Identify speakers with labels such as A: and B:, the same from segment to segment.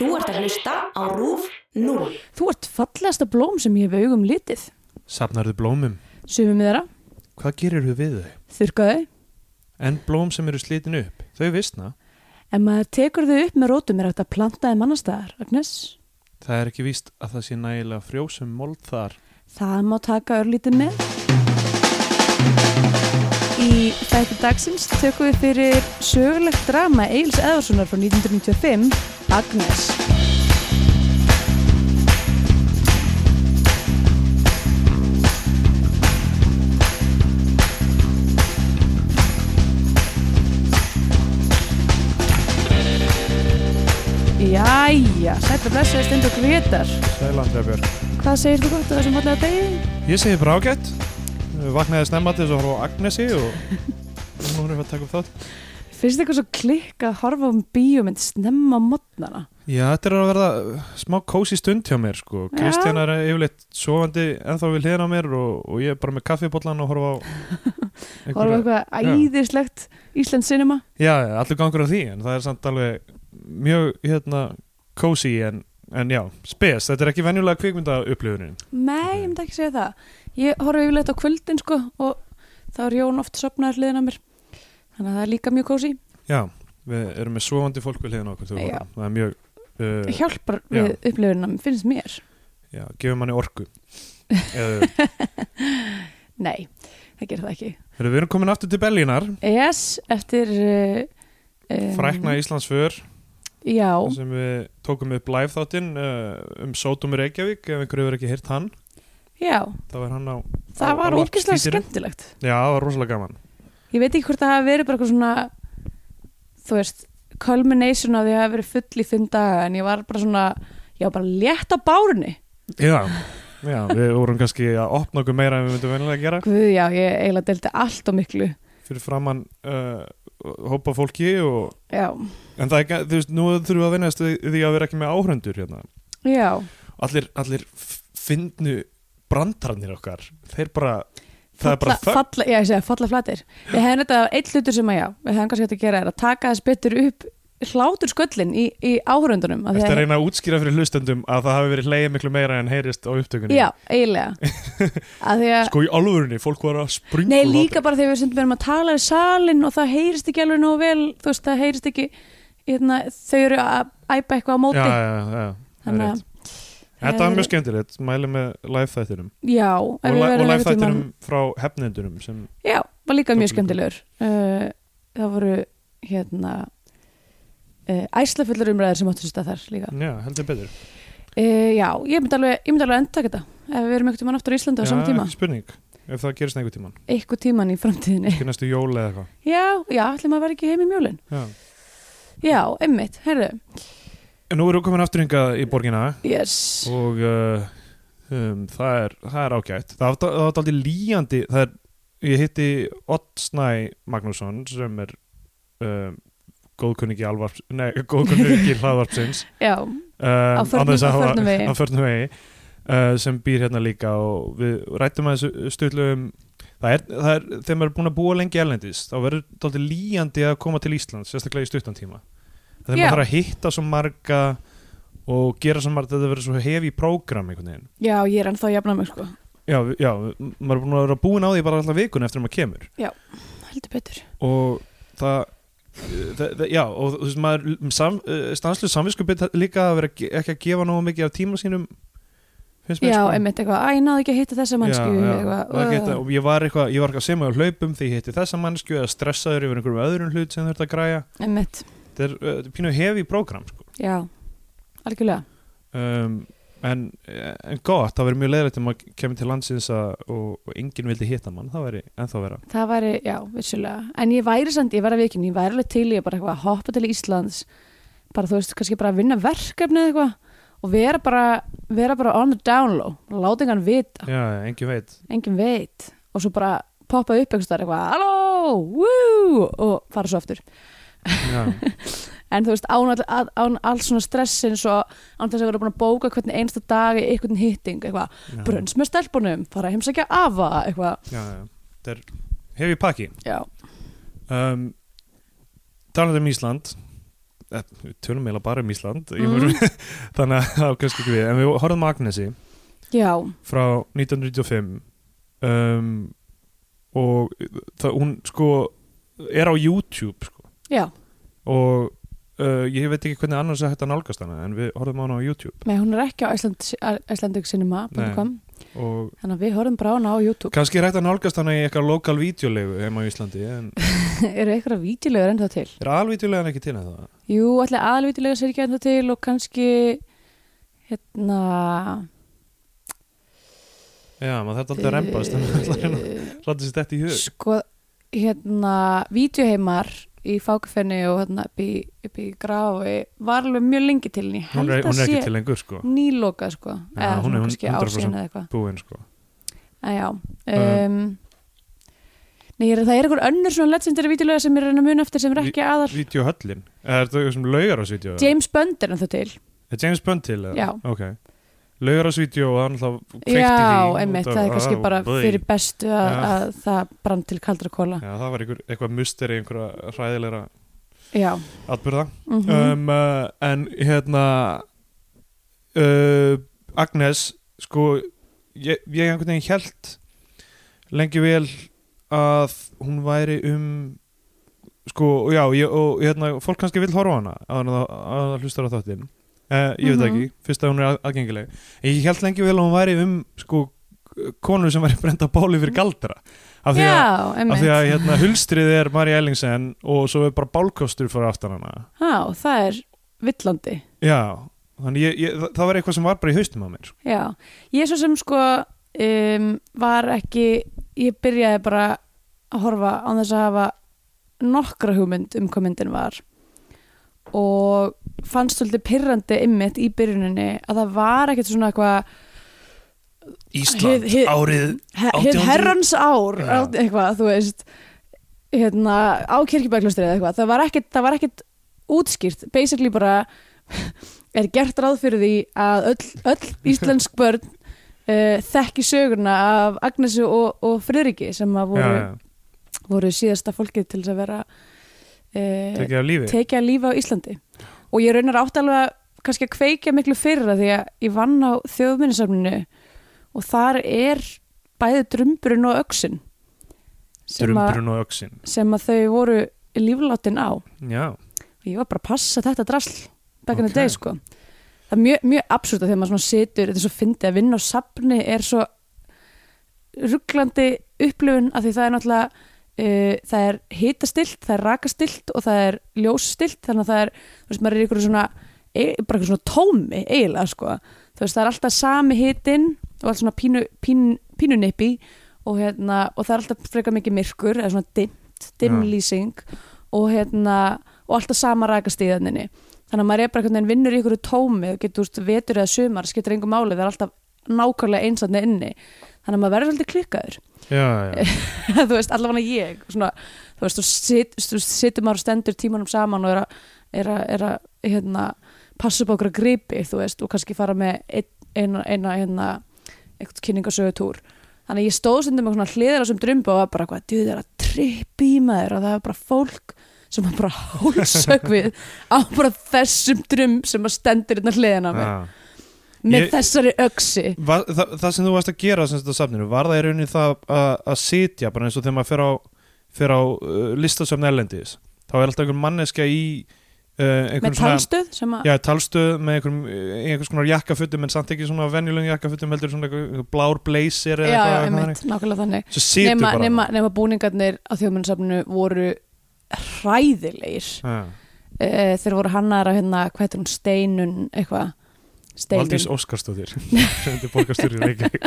A: Þú ert að hlusta á RÚF 0.
B: Þú ert fallegasta blóm sem ég hef augum litið.
C: Safnarðu blómum?
B: Sumum þeirra,
C: Hvað gerir þú við þau?
B: þurrkaðu,
C: En blóm sem eru slitin upp, þau vissna.
B: en maður tekur þau upp með rótum er hægt að planta þeim annar staðar, Agnes.
C: Það er ekki víst að það sé nægilega frjósum mold þar.
B: Það má taka örlítið með. Í þætti dagsins tökum við fyrir sögulegt drama Eils Eðvarssonar frá 1995, Agnes. Jæja, sætt og blessaði stund og grétar.
C: Sælandra björn.
B: Hvað segir þú gott á þessum fallega degi?
C: Ég segi bara ágætt. Við Vaknaði snemma til þess að horfa á Agnesi og nú erum við að taka upp þátt.
B: Finnst þið eitthvað svo klikka að horfa um bíómynd snemma á modnana?
C: Já, þetta er að verða uh, smá kósi stund hjá mér sko.
B: Já.
C: Kristján er yfirleitt sofandi ennþá við hliðina á mér og, og ég er bara með kaffibóllan og horfa á
B: Horfa eitthvað
C: já.
B: æðislegt Íslands cinema?
C: Já, allur gangur á því en það er samt alveg mjög hérna kósi en, en já, spes, þetta er ekki venjulega kvikmynda upplifunin.
B: Nei, ég myndi ekki segja það. Ég horfa yfirleitt á kvöldin sko og þá er Jón oft sopnaður hliðin á mér. Þannig að það er líka mjög kósi.
C: Já, við erum með svovandi fólk við hliðina á okkur þegar við
B: Já.
C: horfum. það er mjög,
B: Það
C: uh,
B: hjálpar við upplifunum, finnst mér.
C: já, gefur manni orku. uh,
B: Nei, það gerir það ekki.
C: heyrðu, við erum komin aftur til Berlínar,
B: Yes, eftir... Uh, um,
C: frækna Íslands för
B: Já,
C: sem við tókum upp live þáttinn uh, um Sótum í Reykjavík, ef einhverju hefur ekki heyrt hann,
B: já.
C: þá er hann á,
B: Það
C: á-
B: var
C: á
B: ógislega
C: varpstítinum.
B: skemmtilegt.
C: Já, það var rosalega gaman.
B: Ég veit ekki hvort það hafi verið bara eitthvað svona þú veist, culmination af því að það hafi verið full í fimm daga en ég var bara svona, ég var bara létt á bárunni
C: Já, já, við vorum kannski að opna okkur meira en við myndum venjulega að gera.
B: Guð já, ég eiginlega delti allt og miklu
C: fyrir framann uh, hópa fólki og,
B: Já,
C: en það er ekki, þú veist, nú þurfum við að vinna því að vera ekki með áhröndur hérna.
B: já
C: allir, allir f- finnu brandarnir okkar þeir bara, það er bara
B: Falla- falla, Já, ég segi, falla flatir Við hefum þetta eitt hlutur sem að já, við hefum kannski hægt að gera er að taka þess betur upp hlátur sköllin í, í áhörundunum af því
C: eftir
B: að-
C: að reyna að útskýra fyrir hlustendum að það hafi verið leið miklu meira en heyrist á upptökunni
B: Já, eiginlega að því að
C: sko í alvörunni, fólk var að springa
B: Nei,
C: úr
B: líka
C: hlátri.
B: bara þegar við stundum erum að tala í salin og það heyrist ekki alveg nógu vel, þú veist, það heyrist ekki hérna, þau eru að æpa eitthvað á móti.
C: já, já, já, já, það er
B: Þannig að-
C: rétt. þetta var mjög skemmtilegt, mæli með live þættinum
B: Já,
C: og,
B: ef við
C: la- og um-
B: verðum
C: live
B: einhvern tímann-
C: þættinum frá hefnendunum sem,
B: Já, var líka mjög
C: Tóku líka.
B: skemmtilegur. Uh, það voru, hérna, uh, æslafullur umræðar sem áttu sér stað þar líka.
C: já, heldur betur
B: Uh, já, ég myndi alveg, ég myndi alveg endtaka þetta ef við erum einhvern tímann aftur á Íslandi á
C: já,
B: sama tíma.
C: ekki spurning, ef það gerist einhvern tíman
B: Einhvern tímann í framtíðinni.
C: ekki næstu jól eða eitthvað
B: Já, já, ætlum að vera ekki heim í mjólin.
C: Já.
B: Já, einmitt, herðu,
C: En Nú erum við komin aftur hingað í borgina
B: yes.
C: og uh, um, það, er, það er ágætt. Það var- það var aldrei líjandi, það er, ég hitti Ott Snæ Magnússon sem er um, góðkunningi alvarps, nei, góðkunningi hlaðvarpsins.
B: Já,
C: Um,
B: á förnum, á förnum vegi.
C: Á förnum vegi uh, sem býr hérna líka og við rættum að þessu stutlu um Það er, það er, þegar maður er búin að búa lengi erlendis þá verður dálítið líjandi að koma til Íslands sérstaklega í stuttan tíma
B: Já.
C: þegar maður þarf að hitta svo marga og gera svo marga, þetta verður svo hefi prógram einhvern veginn
B: Já, ég er ennþá að jafna mig, sko.
C: já, við- já, m- maður er búin að vera búin á því bara alltaf vikun eftir að maður kemur
B: heldur betur
C: og það eh, Það, það, já, og þú veist maður mm, sam, eh, stanslu samvinskupið líka að vera ge- ekki að gefa nógu mikið af tíma sínum finnst mér
B: já,
C: sko.
B: einmitt eitthvað, æ, ég náðu ekki að hitta þessa mannsku
C: Já, já,
B: eitthvað,
C: maður
B: uh,
C: geta, og ég var eitthvað, ég var eitthvað sem á hlaupum því ég hitti þessa mannsku eða stressaður yfir einhverjum öðrum hlut sem þurft að græja
B: einmitt,
C: þetta er uh, þetta er pínu hefi prógram sko.
B: já algjörlega,
C: um, en, eh, en gott, það verið mjög leiðrætt um að kemur til landsins að, og, og enginn vildi hitta mann, það verið ennþá vera
B: það væri, já, vissulega en ég væri samt, ég væri vikinn, ég væri alveg til ég bara eitthvað að hoppa til Íslands bara, þú veist, kannski bara að vinna verkefni eða eitthvað og vera bara, vera bara on the down low, láta engan vita
C: já, enginn veit
B: engin veit og svo bara poppa upp einhvers þar eitthvað, halló, woo og fara svo aftur
C: já,
B: en þú veist, án, all- að- án alls svona stressin svo án þess að vera búin að bóka hvernig einsta dag í einhvern hitting, eitthvað,
C: já,
B: brönns með stelpunum fara að heimsækja afa, eitthvað
C: já, já. þetta er hefi pakki
B: já,
C: um, talandi um Ísland eh, við tölum eiginlega bara um Ísland mm. þannig að það á kannski ekki við en við horfum að Agnesi
B: já,
C: frá 1995 um, og það, hún sko er á YouTube sko,
B: já,
C: og uh, ég veit ekki hvernig annars er hægt að nálgast hana en við horfum á hana á YouTube
B: með hún er ekki á Icelandiccinema.com
C: og
B: þannig að við horfum bara á hana á YouTube
C: kannski er hægt að nálgast hana í eitthvað lokal videolegu heima á Íslandi en
B: eru eitthvað vítilegur ennþá til
C: er alvídeolegan ekki til að það?
B: jú, allir aðalvítilega sér ekki ennþá til og kannski hérna
C: Já, maður þarf alltaf að rempast þannig að það er að hlata sér þetta í hug
B: sko, hérna vídeoheimar í fákafenni og hérna upp í, upp í grafi var alveg mjög lengi til henni
C: hún er,
B: held
C: hún
B: að
C: er ekki
B: sé
C: til lengur sko
B: nýloka sko
C: Já,
B: eða
C: hún
B: svona
C: er
B: kannski
C: 100%
B: ársíðan eða eitthvað
C: búinn sko
B: En já,
C: Eh.
B: um, nei, ég er- það er einhver önnur svona legendary vídeolega sem ég er að muna eftir sem er ekki aðal
C: Vídeohöllin, er þetta sem laugarásvídeó?
B: James Bond er ennþá til
C: Er James Bund til? eða?
B: Já.
C: Ok Laugarásvídeó og hann alltaf kveikti
B: Já,
C: því
B: einmitt,
C: út af-
B: það er kannski
C: á,
B: bara
C: búi.
B: fyrir bestu að,
C: Já.
B: að það brann til kaldra kóla
C: Já, það var einhver, eitthvað musteri, einhverja hræðilegra
B: Já,
C: atbyrða
B: mm
C: um, uh, En hérna uh, Agnes, sko ég, ég einhvern veginn held lengi vel að hún væri um sko, og já, ég, og hérna fólk kannski vil horfa á hana að hana að það hlustar á þáttinn uh,
B: Mhm.
C: ég veit það ekki, fyrst að hún er að- aðgengileg en ég held lengi vel að hún væri um sko, konu sem væri brenda báli fyrir galdra af því að,
B: já,
C: af því
B: einmitt
C: að hérna, hulstrið er Marja Ellingsen og svo er bara bálkostur fyrir aftan hana
B: Já, það er villandi
C: já, þannig ég, ég, það- það var eitthvað sem var bara í haustum á mér sko.
B: Já, ég svo sem sko um, var ekki ég byrjaði bara að horfa án þess að hafa nokkra hugmynd um hvað myndin var og fannst svolítið pyrrandi ymmit í byrjuninni að það var ekkert svona eitthvað
C: Ísland,
B: Hið- hið-
C: árið
B: he- hið
C: 1800?
B: herrans ár
C: Já.
B: át- eitthvað, þú veist hérna, á kirkjubæklustri eða eitthvað, það var ekkert, það var ekkert útskýrt, basically bara er gert ráð fyrir því að öll, öll íslensk börn uh, þekki sögurna af Agnesu og, og Friðriki sem að voru,
C: já, já,
B: voru síðasta fólkið til þess að vera uh,
C: tekið af lífi
B: tekið að lífa á Íslandi og ég raunar átt alveg að kannski að kveikja miklu fyrir að því að ég vann á þjóðminnisafninu og þar er bæði drömburinn og öksin sem, að-
C: drumbrun og öksin
B: sem að þau voru líflátin á
C: já,
B: og ég var bara að passa þetta drasl back in
C: Ok.
B: the day sko það er mjög, mjög absúrt að þegar maður svona situr þetta er svo fyndið að vinna á safni er svo rugglandi upplifun af því það er náttúrulega uh, það er hitastilt, það er rakastilt og það er ljósstilt þannig að það er, þú veist, maður er í einhverju svona e, bara einhverju svona tómi eiginlega sko þú veist, það er alltaf sami hitin og allt svona pínu, pín, pínunipi og hérna, og það er alltaf frekar mikið myrkur eða svona dimmt, dimm
C: Já.
B: lýsing og hérna og alltaf sama rakast í þenninni þannig að maður er bara einhvern veginn vinnur í einhverju tómi og getur úst vetur eða sumar, skiptir engu máli það er alltaf nákvæmlega einsatni inni þannig að maður verður svolítið klikkaður
C: já, já,
B: þú veist, allavega ég svona, þú veist, þú, sit, þú situr maður og stendur tímanum saman og er að, er að, er að hérna, passa upp á okkur að gripi þú veist, og kannski fara með ein, eina, eina hérna, eitthvað kynningasögutúr þannig að ég stóð stundum með svona hliðar á sem drömbu og var bara hvað, duð er að trippi í maður og það er bara fólk sem að bara hálsök við á bara þessum drömb sem að stendur hérna hliðina á mig,
C: já.
B: með
C: Ah. Ég-
B: þessari öksi
C: Var, það, það sem þú varst að gera sem þetta safninu, var það í rauninni það að, að sitja, bara eins og þegar maður fer á, fer á uh, listasöfn erlendis þá er alltaf einhver manneskja í uh, einhvern
B: með talstöð sem að
C: já, talstöð með einhverjum, í einhvers konar jakkafutum en samt ekki svona venjulegum jakkafutum heldur svona einhver- einhver blár blazer eða
B: já, já,
C: eitthvað, eitthvað
B: einmitt, nákvæmlega þannig
C: þannig. svo situr
B: nema,
C: bara
B: nema, nema búningarnir á þjóðmunnsafninu voru hræðilegir
C: Já.
B: uh, þeir voru hannar á hérna, hvað heitir hún, steinun eitthvað,
C: Valdís
B: steinun
C: Óskarstóttir sem þetta borgarstjóri í Reykjavík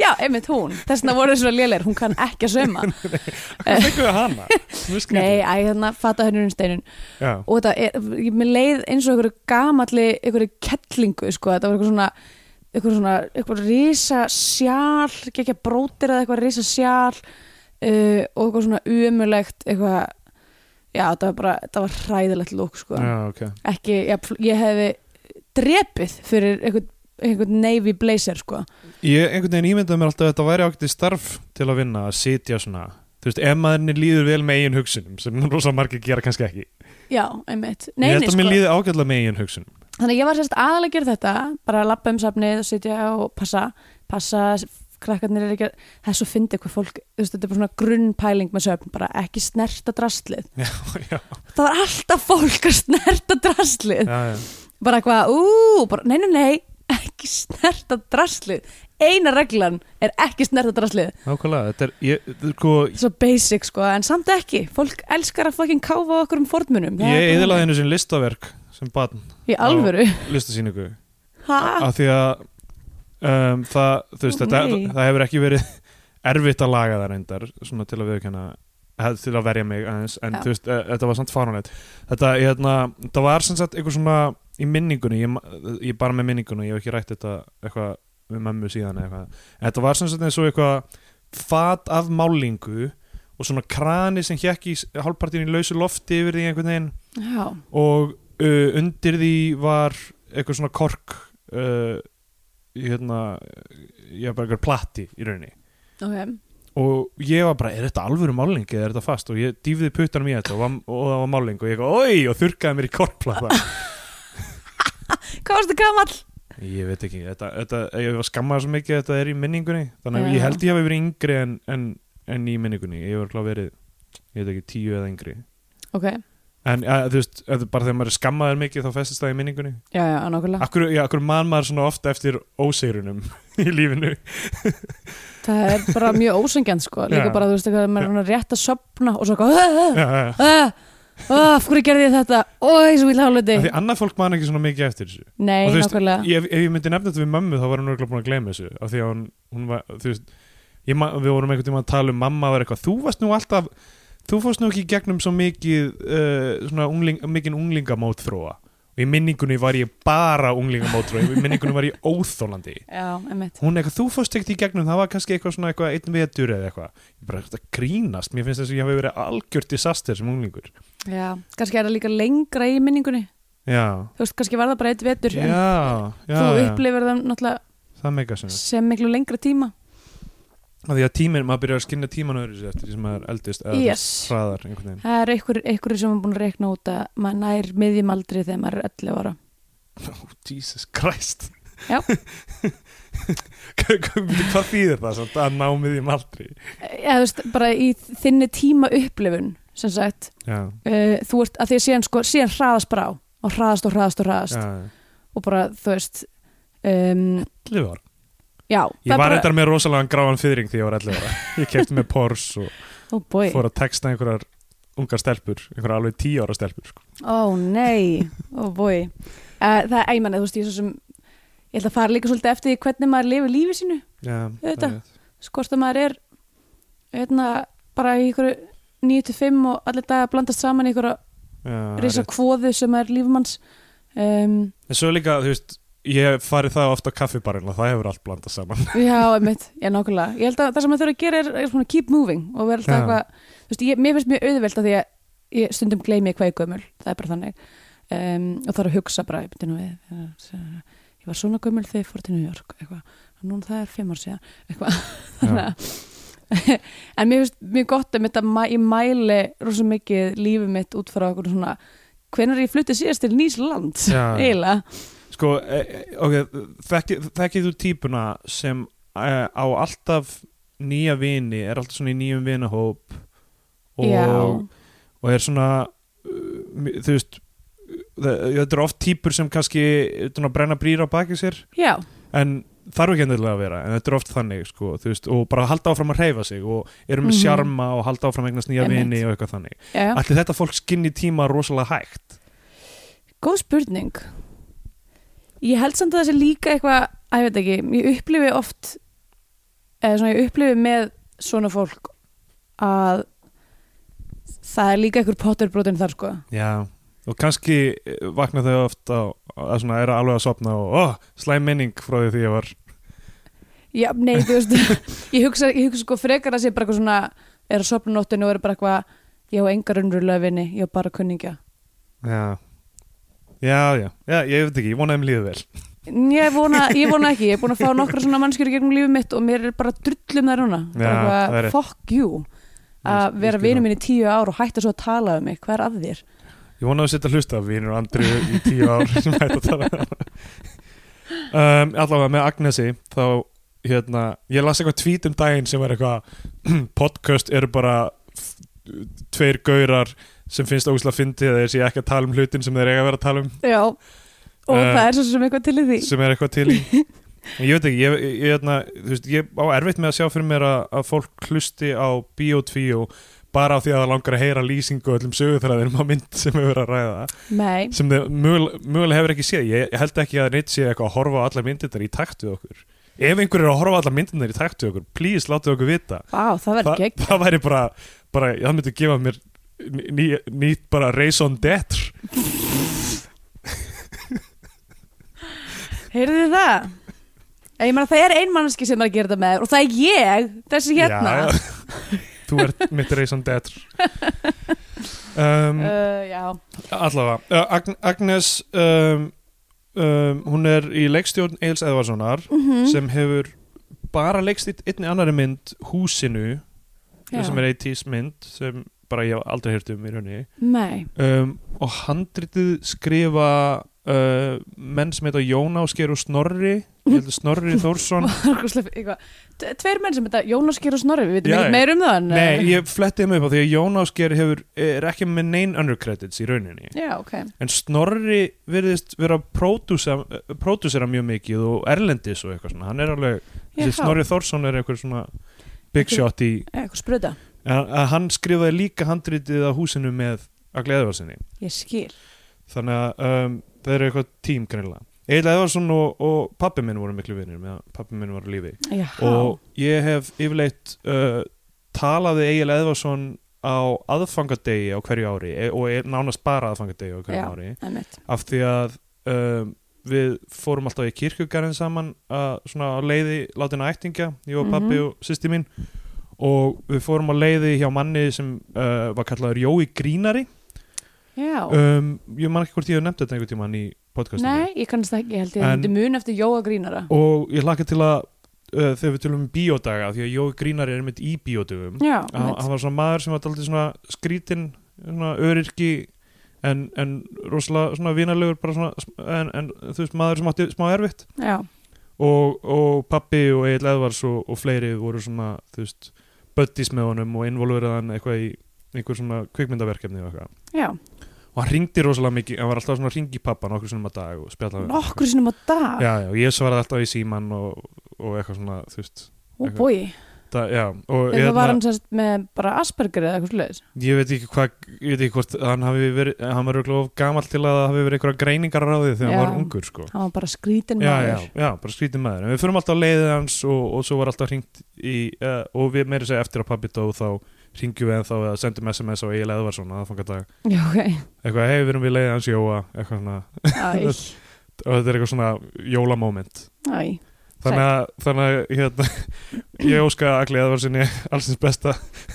B: já, einmitt hún, þessna voru svona lélegir hún kann ekki að söma
C: hvað fengur það hana? Hún er
B: nei,
C: skrýtin.
B: æ, hérna, fata hennurinn steinun
C: já,
B: og þetta er, ég með leið eins og einhverju gamalli, einhverju kettlingu sko, þetta var eitthvað svona eitthvað svona, eitthvað risa sjál ekki að brótir eða eitthvað risa sjál uh, og eitthvað svona umulegt eitthvað, já þetta var bara þetta var hræðilegt lúk sko
C: já, ok
B: ekki, já, pl- ég hefði drepið fyrir einhvern, einhvern navy blazer sko
C: Ég einhvern veginn ímyndaði mér alltaf að þetta væri ákveðið starf til að vinna, að sitja svona þú veist, ef maðurinn líður vel með eigin hugsunum sem rosa margir gera kannski ekki
B: já, einmitt nei,
C: ég
B: nei,
C: held að
B: sko.
C: mér líði ágætlega með eigin hugsunum
B: þannig að ég var sérst aðalega að gera þetta bara að lappa um safnið og sitja og passa passa, krakkarnir er ekki að það er svo fyndið hvað fólk, þú veist, þetta er bara svona grunnpæling með söfn, bara ekki snerta drastlið
C: já, já,
B: það var alltaf fólk að snerta drastlið
C: já, já.
B: bara eitthvað, ú, bara, nei, nei, nei ekki snerta drastlið eina reglan er ekki snerta drastlið
C: nákvæmlega þetta er, ég, þetta er sko,
B: svo basic sko, en samt ekki fólk elskar að fucking káfa á okkur um fornmunum Það er
C: ég
B: bara-
C: eðilaði hennu sem listaverk sem barn,
B: í alvöru,
C: listasýningu
B: ha?
C: af því að um, það, þú veist,
B: Ó,
C: þetta,
B: nei.
C: það hefur ekki verið erfitt að laga það reyndar svona til að viðkjanna til að verja mig aðeins en
B: Já.
C: þú veist, eh, þetta var samt fáránlegt þetta, ég, hérna, það var sem sagt einhver svona í minningunni, ég, ma- ég bara með minningunni ég hef ekki rætt þetta eitthvað með mömmu síðan eða eitthvað, en þetta var sem sagt eins og eitthvað fat af málingu og svona krani sem hjekk í hálfpartinu í lausu lofti yfir því einhvern veginn
B: já,
C: og uh, undir því var eitthvað svona kork uh, hérna ég bara eitthvað plati í rauninni
B: ok
C: og ég var bara, er þetta alvöru máling eða er þetta fast og ég dýfði puttanum í þetta og, var, og það var máling og ég eitthvað, oi og þurkaði mér í korkplata
B: hvað varstu gamall?
C: ég veit ekki, þetta, þetta, ég var skammaði svo mikið að þetta er í minningunni þannig að
B: Já.
C: ég held ég hafi verið yngri en, en, en í minningunni ég var klá verið, ég veit ekki, tíu eða yngri
B: ok,
C: en að, þú veist, að, bara þegar maður er skammaður mikið þá festist það í minningunni
B: já, já, nákvæmlega
C: Akkur, já, akkur man maður svona ofta eftir óseirunum í lífinu
B: það er bara mjög ósengjant sko líka
C: Já.
B: bara, þú veist, eitthvað, maður er svona rétt að sopna og svo eitthvað,
C: já, já.
B: "Ah, ah, af hverju gerði ég þetta oi, svo vill hálfleiti
C: Af Því annað fólk man ekki svona mikið eftir þessu
B: nei,
C: Og þú veist,
B: nákvæmlega,
C: ég, Ef ef ég myndi nefna þetta við mömmu þá var hún örgulega búin að gleyma þessu af Því að hún, hún var, þú veist ég, ma- Við vorum einhvern tíma að tala um mamma var eitthvað Þú varst nú alltaf, þú fórst nú ekki í gegnum svo mikið uh, Svona ungling, mikið unglingamótþróa Og í minningunni var ég bara unglingamótþróa Í minningunni var ég óþólandi
B: já, emmitt
C: hún eitthvað, þú fórst ekkert í gegnum það var kannski eitthvað svona eitthvað einn vetur eða eitthvað ég bara þetta grínast, mér finnst þess að ég hafi verið algjört disaster sem unglingur
B: já, kannski er það líka lengra í minningunni
C: já,
B: þú veist, kannski var það bara eitt vetur
C: já,
B: en
C: já,
B: þú
C: já.
B: upplifir það náttúrulega
C: það meika sem
B: sem miklu lengra tíma
C: að því að tíminn, maður byrjar að skinna tíman öðru sér eftir því sem maður eldist eða
B: Yes.
C: þú veist, hraðar einhvern veginn
B: það er einhver, einhverju sem er búin að rekna út að maður nær miðjum aldri þegar maður er 11 ára
C: Jesus Christ
B: Já.
C: hvað þýðir það samt, að námið í maldri
B: eða þú veist, bara í þinni tíma upplifun sem sagt,
C: já,
B: uh, þú ert að því að síðan, sko, síðan hraðast bara á og hraðast og hraðast og hraðast
C: já.
B: og bara, þú veist um,
C: Lifar.
B: já,
C: ég var reyndar með rosalega gráan fyrring því ég var 11 ára ég kefti með pors og
B: oh boy,
C: fór að texta einhverjar ungar stelpur, einhverjar alveg tíu ára stelpur sko.
B: oh nei oh boy, uh, það er æmann þú veist, ég svo sem ég held að fara líka svolítið eftir því hvernig maður lifir lífi sínu
C: Já,
B: Auðvitað.
C: það er rétt.
B: skort að maður er hérna, bara í ykkur 9-5 og allir dagar blandast saman í ykkur
C: Já, það er
B: risa
C: rétt.
B: kvóðu sem er lífmanns um,
C: En svo líka, þú veist, ég hef farið það ofta á kaffibarinn og það hefur allt blandað saman
B: Já, einmitt, já nákvæmlega Ég held að það sem maður þurfa að gera er, er svona keep moving og vera alltaf
C: Já.
B: eitthvað þú veist, ég, Mér finnst mjög auðvelt að því að ég stundum gleymi ég hvað ég er gömul, það er bara þannig um, og þarf að hugsa bara ég, nú, ég, ég var svona gömul þegar ég fór til New York eitthvað, og núna það er fimm ár síðan eitthvað, þannig að en mér finnst mjög gott um þetta ma- ég mæli rosa mikið lífið mitt út frá okkur svona hvenær ég flutti síðast til nýs land
C: Já.
B: eiginlega,
C: Sko, e, e, ok, þekkið þekki þú típuna sem e, á alltaf nýja vini, er alltaf svona í nýjum vinahóp og,
B: já
C: og er svona, uh, mi- þú veist, það- þetta eru oft típur sem kannski svona, brenna brýra á baki sér
B: Já,
C: en þarf ekki endilega að vera en þetta er oft þannig sko, þú veist, og bara halda áfram að hreyfa sig og eru með
B: Mhm.
C: sjarma og halda áfram að eignast nýja
B: Einmitt.
C: vini og eitthvað þannig
B: já, já.
C: Ætli þetta fólk skinni tíma rosalega hægt
B: Góð spurning. Ég held samt að það sé líka eitthvað, að ég veit ekki, ég upplifi oft, eða svona ég upplifi með svona fólk að það er líka einhver potterbrotin þar sko.
C: Já og kannski eh, vakna þau oft á, að svona eru alveg að sopna og oh, slæm minning frá því því ég var
B: Já, nei, þú veist, ég hugsa, ég hugsa sko frekar að sé bara eitthvað svona, er að sopna á nóttinu og er bara eitthvað, ég á engar unnurlega vinni, ég á bara kunningja.
C: Já, já, já, já ég veit ekki, ég vonaði þeim líðu vel
B: Ég vona, ég vona ekki, ég er búin að fá nokkra svona mannskjur í gegnum lífið mitt og mér er bara drullum þær núna
C: Já,
B: bara
C: það er
B: eitthvað,
C: rétt.
B: fuck you að
C: Ég- ég
B: vera
C: skil
B: vinur
C: það.
B: minn í tíu ár og hætta svo að tala um mig, hvað er að þér?
C: Ég vona að setja hlusta af vinur Andri í tíu ár sem hægt að tala um, Allavega með Agnesi þá hérna, ég las eitthvað tweet um daginn sem var eitthvað podcast eru bara f- tveir gaurar sem finnst ógustlega fyndið að þeir sé ekki að tala um hlutin sem þeir eiga að vera að tala um
B: Já, og
C: Eh,
B: það er svo sem eitthvað til í því
C: sem er eitthvað til í En ég veit ekki, ég, ég, hérna, þú veist, ég á erfitt með að sjá fyrir mér að, að fólk hlusti á Bíotvíó bara á því að það langar að heyra lýsingu og öllum sögutræðinum á mynd sem við verðum að ræða
B: Nei,
C: sem þau mögulega, mögulega hefur ekki séð ég ég held ekki að neitt sé eitthvað að horfa á allar myndirnar í takt við okkur ef einhver er að horfa á allar myndirnar í takt við okkur please láta okkur vita
B: vá, það
C: Þa,
B: verður gegn
C: það væri bara, bara það myndi gefa mér ný, ný- nýtt bara raison d'etre
B: Heyrðu þið það? Ég meina það er ein mannski sem er að gera þetta með þér og það er ég, þessi hérna
C: Já, þú ert mitt raison d'etre um,
B: Uh, já.
C: allavega uh, Agn Agnes um, um, hún er í leikstjórn Eils Eðvarssonar
B: Mhm. Mm.
C: sem hefur bara leikst í einni annari mynd Húsinu sem
B: já.
C: er 80s mynd sem bara ég hef aldrei hýrt um í rauninni
B: Nei,
C: um, og handritið skrifa uh, menn sem heita Jón Ásker og Snorri ég held að Snorri Þórsson
B: Markusleif, eitthvað T- Tveir menn sem þetta, Jónas Geir og Snorri, við veitum
C: Já,
B: ekki meir um það en,
C: nei,
B: eh,
C: ég fletti þeim upp á því að Jón Ásker hefur, er ekki með nein under credits í rauninni
B: Já, ok
C: en Snorri virðist vera að pródúsa- eh, pródúsera mjög mikið og erlendis og eitthvað svona hann er alveg, þessi
B: Já.
C: Snorri Þórsson er eitthvað svona big
B: Einhver-
C: shot í
B: Eh, Eitthvað spruta,
C: að, að hann skrifaði líka handritið að húsinu með að gleðvarsinni
B: ég skil
C: þannig að um, það eru eitthvað tím greinlega Egil Eðvarsson og, og pappi minn voru miklu vinir meðan pappi minn var á lífi
B: Já,
C: og ég hef yfirleitt uh, talaði Egil Eðvarsson á aðfangadegi á hverju ári e- og er nánast bara aðfangadegi á hverju
B: Já.
C: ári
B: einmitt
C: af því að um, við fórum alltaf í kirkjugarinn saman að, svona á leiði látina ættingja ég og pappi
B: Mhm.
C: og sýsti mín og við fórum á leiði hjá manni sem uh, var kallaður Jói Grínari
B: Já,
C: um, ég man ekki hvort ég hef nefnt þetta einhvern tímann í podcastinu
B: nei, ég kannast það ekki, ég held ég
C: En-
B: þetta mun eftir Jóa Grínara
C: og ég hlakka til að uh, þegar við tölum um bíódaga því að Jói Grínari er einmitt í bíódögum
B: Já,
C: hann
B: einmitt.
C: hann var svona maður sem var daldið svona skrítin svona öryrki en, en rosalega svona vinalegur bara svona, sm- en, en þú veist maður sem átti smá erfitt
B: já,
C: og, og pappi og Egil Edvars og, og fleiri voru svona þú veist buddies með honum og involverið hann eitthvað í einhver svona kvikmyndaverkefni og eitthvað
B: já
C: og hann ringdi rosalega mikið, hann var alltaf svona að ringi pappa nokkur sinnum að dag og spjalla við hann.
B: Nokkur sinnum á dag,
C: já, já, og ég svaraði alltaf í síman og, og eitthvað svona, þú veist
B: ó bói
C: það, já, og
B: Þegar það var
C: hérna,
B: hann sérst með bara Asperger eða eitthvað sluðis
C: ég veit ekki hvað ég veit ekki hvort, hann hafi verið hann var örugglega of gamall til að það hafi verið einhverja greiningar ráðið þegar hann
B: Já.
C: var ungur, sko
B: Hann var bara skrítin
C: já, já,
B: maður
C: já, bara skrítið maður en við förum alltaf á leiðið hans og, og svo var alltaf hringt í, uh, og við meiri segja eftir að pappi dó þá ringjum við ennþá eða sendum SMS á Egil Eðvarsson að fanga dag
B: Já, ok
C: eitthvað, hei, við erum við leiðið hans Jóa eitthvað svona,
B: Æ,
C: og þetta er eitthvað svona jólamoment
B: æ
C: þannig að, þannig að hérna, ég óska að Agli Eðvarsinni allsins besta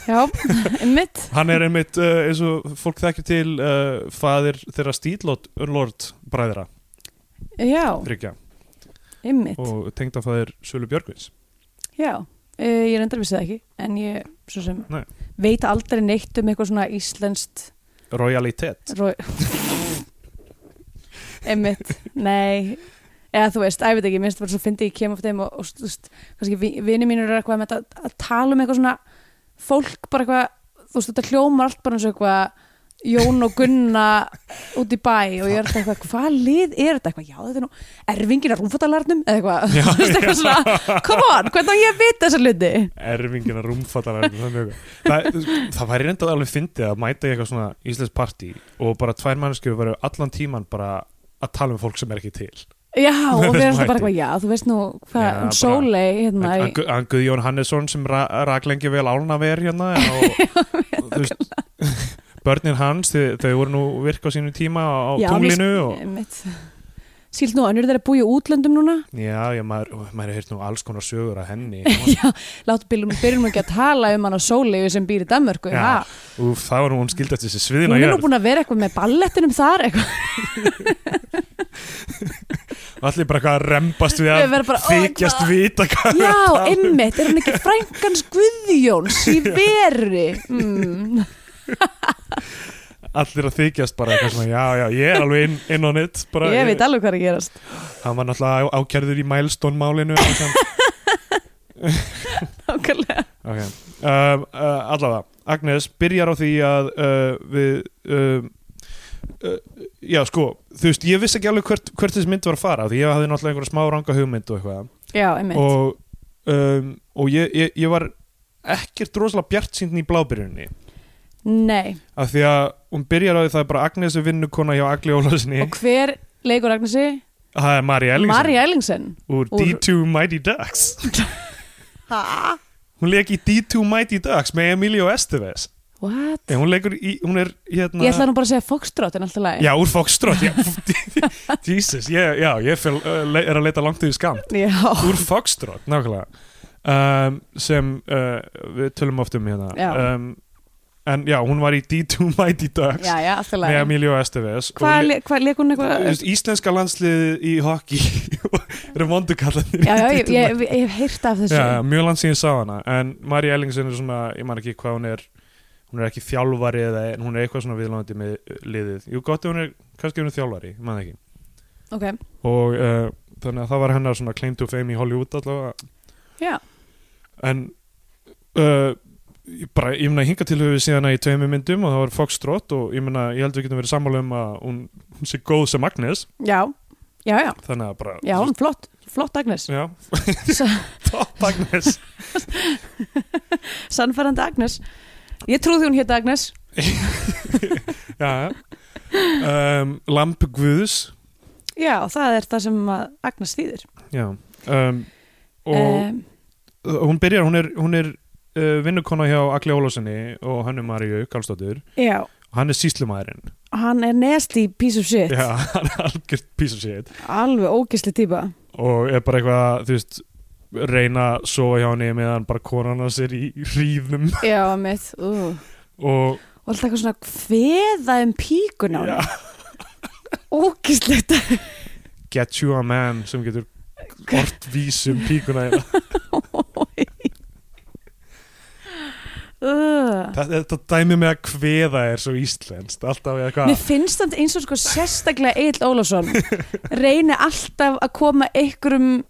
B: Já, mitt
C: hann er einmitt uh, eins og fólk þekkir til uh, faðir þeirra stílót Unlord bræðra
B: Já,
C: þryggja
B: einmitt
C: og tengda faðir Sölu Björgvins
B: Já, uh, ég reyndar vissi það ekki en ég svo sem
C: Nei.
B: veit aldrei neitt um eitthvað svona íslenskt
C: Royalitet
B: ró... einmitt, nei eða þú veist, æ, ég veit ekki, minnst bara svo fyndi ég kem af þeim og, og þú veist, kannski vi- vinir mínur er eitthvað með þetta að tala um eitthvað svona fólk bara eitthvað þú veist, þetta hljómar allt bara eins og eitthvað Jón og Gunna út í bæ og ég er alltaf eitthvað, hvað lið er þetta eitthvað, já þetta er nú, erfingin að rúmfattalarnum eða eitthvað, þú veist eitthvað svona come on, hvernig á ég að vita þessa hluti
C: erfingina rúmfattar það, það, það væri reyndað alveg fyndið að mæta í eitthvað svona íslensk partí og bara tvær mannskjöf varu allan tíman bara að tala um fólk sem er ekki til
B: já, og við erum
C: Þessum
B: alltaf bara
C: hætti.
B: eitthvað, já, þú veist nú
C: Já,
B: hvað,
C: bara-
B: um sólei hérna, í-
C: Hann- hann Gu- hann Guðjón Hannesson sem ra raklengi vel ánaver hérna og, og þú veist börnin hans, þau, þau voru nú virk á sínu tíma á
B: Já,
C: tunglinu og,
B: Einmitt. Sílt nú, önnur þeirra búið í útlöndum núna
C: já, já, maður, maður heirt nú alls konar sögur að henni
B: Já, láttu byrjum, byrjum nú ekki að tala um hann á sóleifu sem býr í Danmörku
C: Já,
B: ha?
C: Úf, það var nú hún skildast þessi sviðin
B: Hún
C: að
B: er nú
C: jörð
B: búin að vera eitthvað með ballettinum þar eitthvað.
C: allir bara hvað að rembast við
B: Við
C: að
B: verðum bara, ó,
C: þykjast
B: hvað-
C: vita
B: Já,
C: hvað við erum að tala um.
B: einmitt, er hún ekki frængans Guðjóns í veri mm.
C: allir að þykjast bara eitthvað svona, já, já, ég er alveg inn, inn á nýtt bara,
B: Ég veit alveg hvað er að gerast
C: hann var náttúrulega á- ákærður í milestone-málinu og sem-
B: Nákvæmlega
C: ok um, uh, allavega, Agnes byrjar á því að uh, við um, uh, já, sko þú veist, ég vissi ekki alveg hvert, hvert þessi mynd var að fara því ég hafði náttúrulega einhverja smá ranga hugmynd og eitthvað
B: Já, einmitt
C: og, um, og ég, ég, ég var ekkert rosalega bjart síndin í blábyrjunni
B: Nei,
C: af því að hún byrjar á því það er bara Agnes er vinnukona hjá Agli Ólarsinni
B: og hver leikur Agnesi?
C: það er Mari Ellingsen
B: Mari Ellingsen
C: úr
B: úr-
C: D2 Mighty Ducks hún leik í D2 Mighty Ducks með Emilio Estevez
B: What?
C: en Eh, hún leikur í, hún er hérna
B: Ég ætla nú bara að segja Foxtrot en alltaf lagi
C: já, úr Foxtrot já, Jesus, ég, já, ég fel, uh, le, er að leita langt yfir skam
B: Já,
C: úr Foxtrot, nákvæmlega um, sem uh, við tölum oft um hérna
B: Já.
C: Um, en já, hún var í D2 Mighty Ducks
B: já, já alltaf
C: með
B: lagi
C: Emilio Estevez og
B: Hvað
C: le-
B: le- hvað leikur hún
C: Þú
B: eitthvað?
C: veist, Íslenska landsliðið í hockey eru vondukallanir
B: Já, já, ég, ég, ég hef heyrt af þessu
C: Já, já, mjög langt síðan sá hana en Mari Ellingsen er svona, ég man ekki hvað hún er hún er ekki þjálfari eða en hún er eitthvað svona viðlandi með uh, liðið Jú, gott ef hún er, kannski hún er þjálfari, ég man það ekki
B: Ok,
C: og uh, þannig að það var hennar svona claim to fame í Hollywood allavega
B: já,
C: en uh, ég bara, ég meina hinga til höfu síðan að í tveimur myndum og það var Fox Trot og ég meina, ég held við getum verið sammála um að hún, hún sé góð sem Agnes
B: já, já, já,
C: þannig að bara
B: já, hún er flott, flott Agnes
C: Já,
B: Sa-
C: topp Agnes
B: Sannfærandi Agnes Ég trúði hún hétt Agnes
C: Já, já um, Lamp Guðs
B: Já, það er það sem að Agnes þýðir
C: Já um, Og
B: um,
C: hún byrjar, hún er, hún er uh, vinnukona hjá Agli Ólafssoni og hann er Maríu Karlsdóttur
B: Já,
C: og hann er síslumæðurinn
B: hann er nasty piece of shit
C: Já, hann er algjört piece of shit
B: Alveg ógisli típa
C: og er bara eitthvað, þú veist reyna að sofa hjá henni meðan bara konan hans er í ríðum
B: Já, mitt, ú
C: og
B: Og alltaf eitthvað svona kveða um píkun á
C: já,
B: hann Ógislegt
C: get you a man sem getur ortvísum píkuna hérna
B: uh.
C: Þetta- Þetta dæmi með að kveða er svo íslenskt alltaf eitthvað
B: Mér finnst þannig eins og sko sérstaklega Egil Ólafsson reyni alltaf að koma einhverjum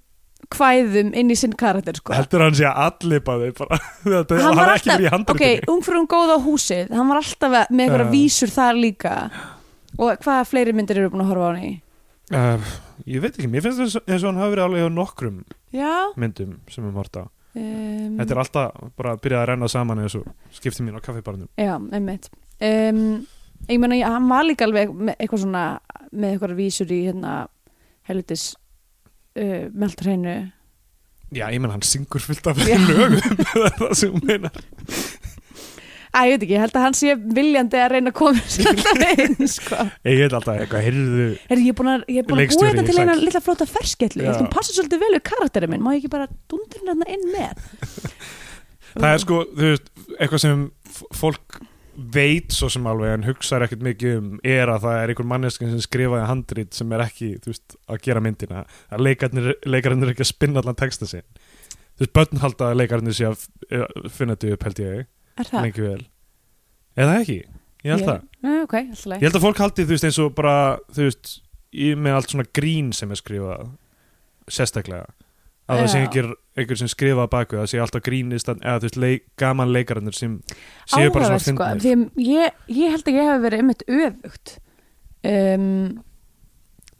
B: kvæðum inn í sinn karakter sko.
C: heldur hann sé að allipa þau bara, þetta
B: Hann
C: hann
B: var
C: var ekki verið í
B: alltaf, ok,
C: handriðinu
B: umfyrir um góða á húsið hann var alltaf að- með einhverja
C: Já.
B: vísur þar líka og hvaða fleiri myndir eru búin að horfa á hann í
C: uh, ég veit ekki, mér finnst eins og- eins og hann hafi verið alveg á nokkrum
B: Já
C: myndum sem við mórta á
B: um,
C: þetta er alltaf bara að byrja að renna saman eins og skipti mín á kaffibarnum
B: Já, einmitt um, Ég meina, ég- hann var líka alveg með eitthvað svona með eitthvað vísur í hérna helvitis uh, meldreinu
C: já, ég menn hann syngur fullt af
B: Já.
C: lögum það er það sem hún meinar
B: Æ, ég veit ekki, ég held að hann sé viljandi að reyna að koma sér alltaf inn sko.
C: ég heit alltaf eitthvað, heyrðu
B: Er ég búin að, ég er búin að búa
C: Leikstjóri,
B: þetta til eina
C: sæll.
B: lilla flóta ferskellu
C: Já.
B: Ég ætlum passa svolítið vel við karakterið minn Má ég ekki bara dundurinn þarna inn með
C: það
B: Mm.
C: er sko, þú veist, eitthvað sem f- fólk veit svo sem alveg en hugsar ekkert mikið um er að það er einhver manneskinn sem skrifaði handrit sem er ekki, þú veist, að gera myndina að leikarnir, leikarnir er ekki að spinna allan texta sinn þú veist, börn halda að leikarnir sé að eh, finna þetta upp held ég,
B: Er það?
C: lengi vel eða ekki, ég held það
B: Nei, ok, alltaf
C: ég held að fólk haldi, þú veist, eins og bara þú veist, í, með allt svona grín sem er skrifað sérstaklega að það sé
B: Já.
C: einhver, einhver sem skrifa baku það sé alltaf grínist eða þú veist, leik, gaman leikarinnir sem séu bara svona
B: sko,
C: fyndnir
B: því að ég, ég held að ég hef verið einmitt öfugt um,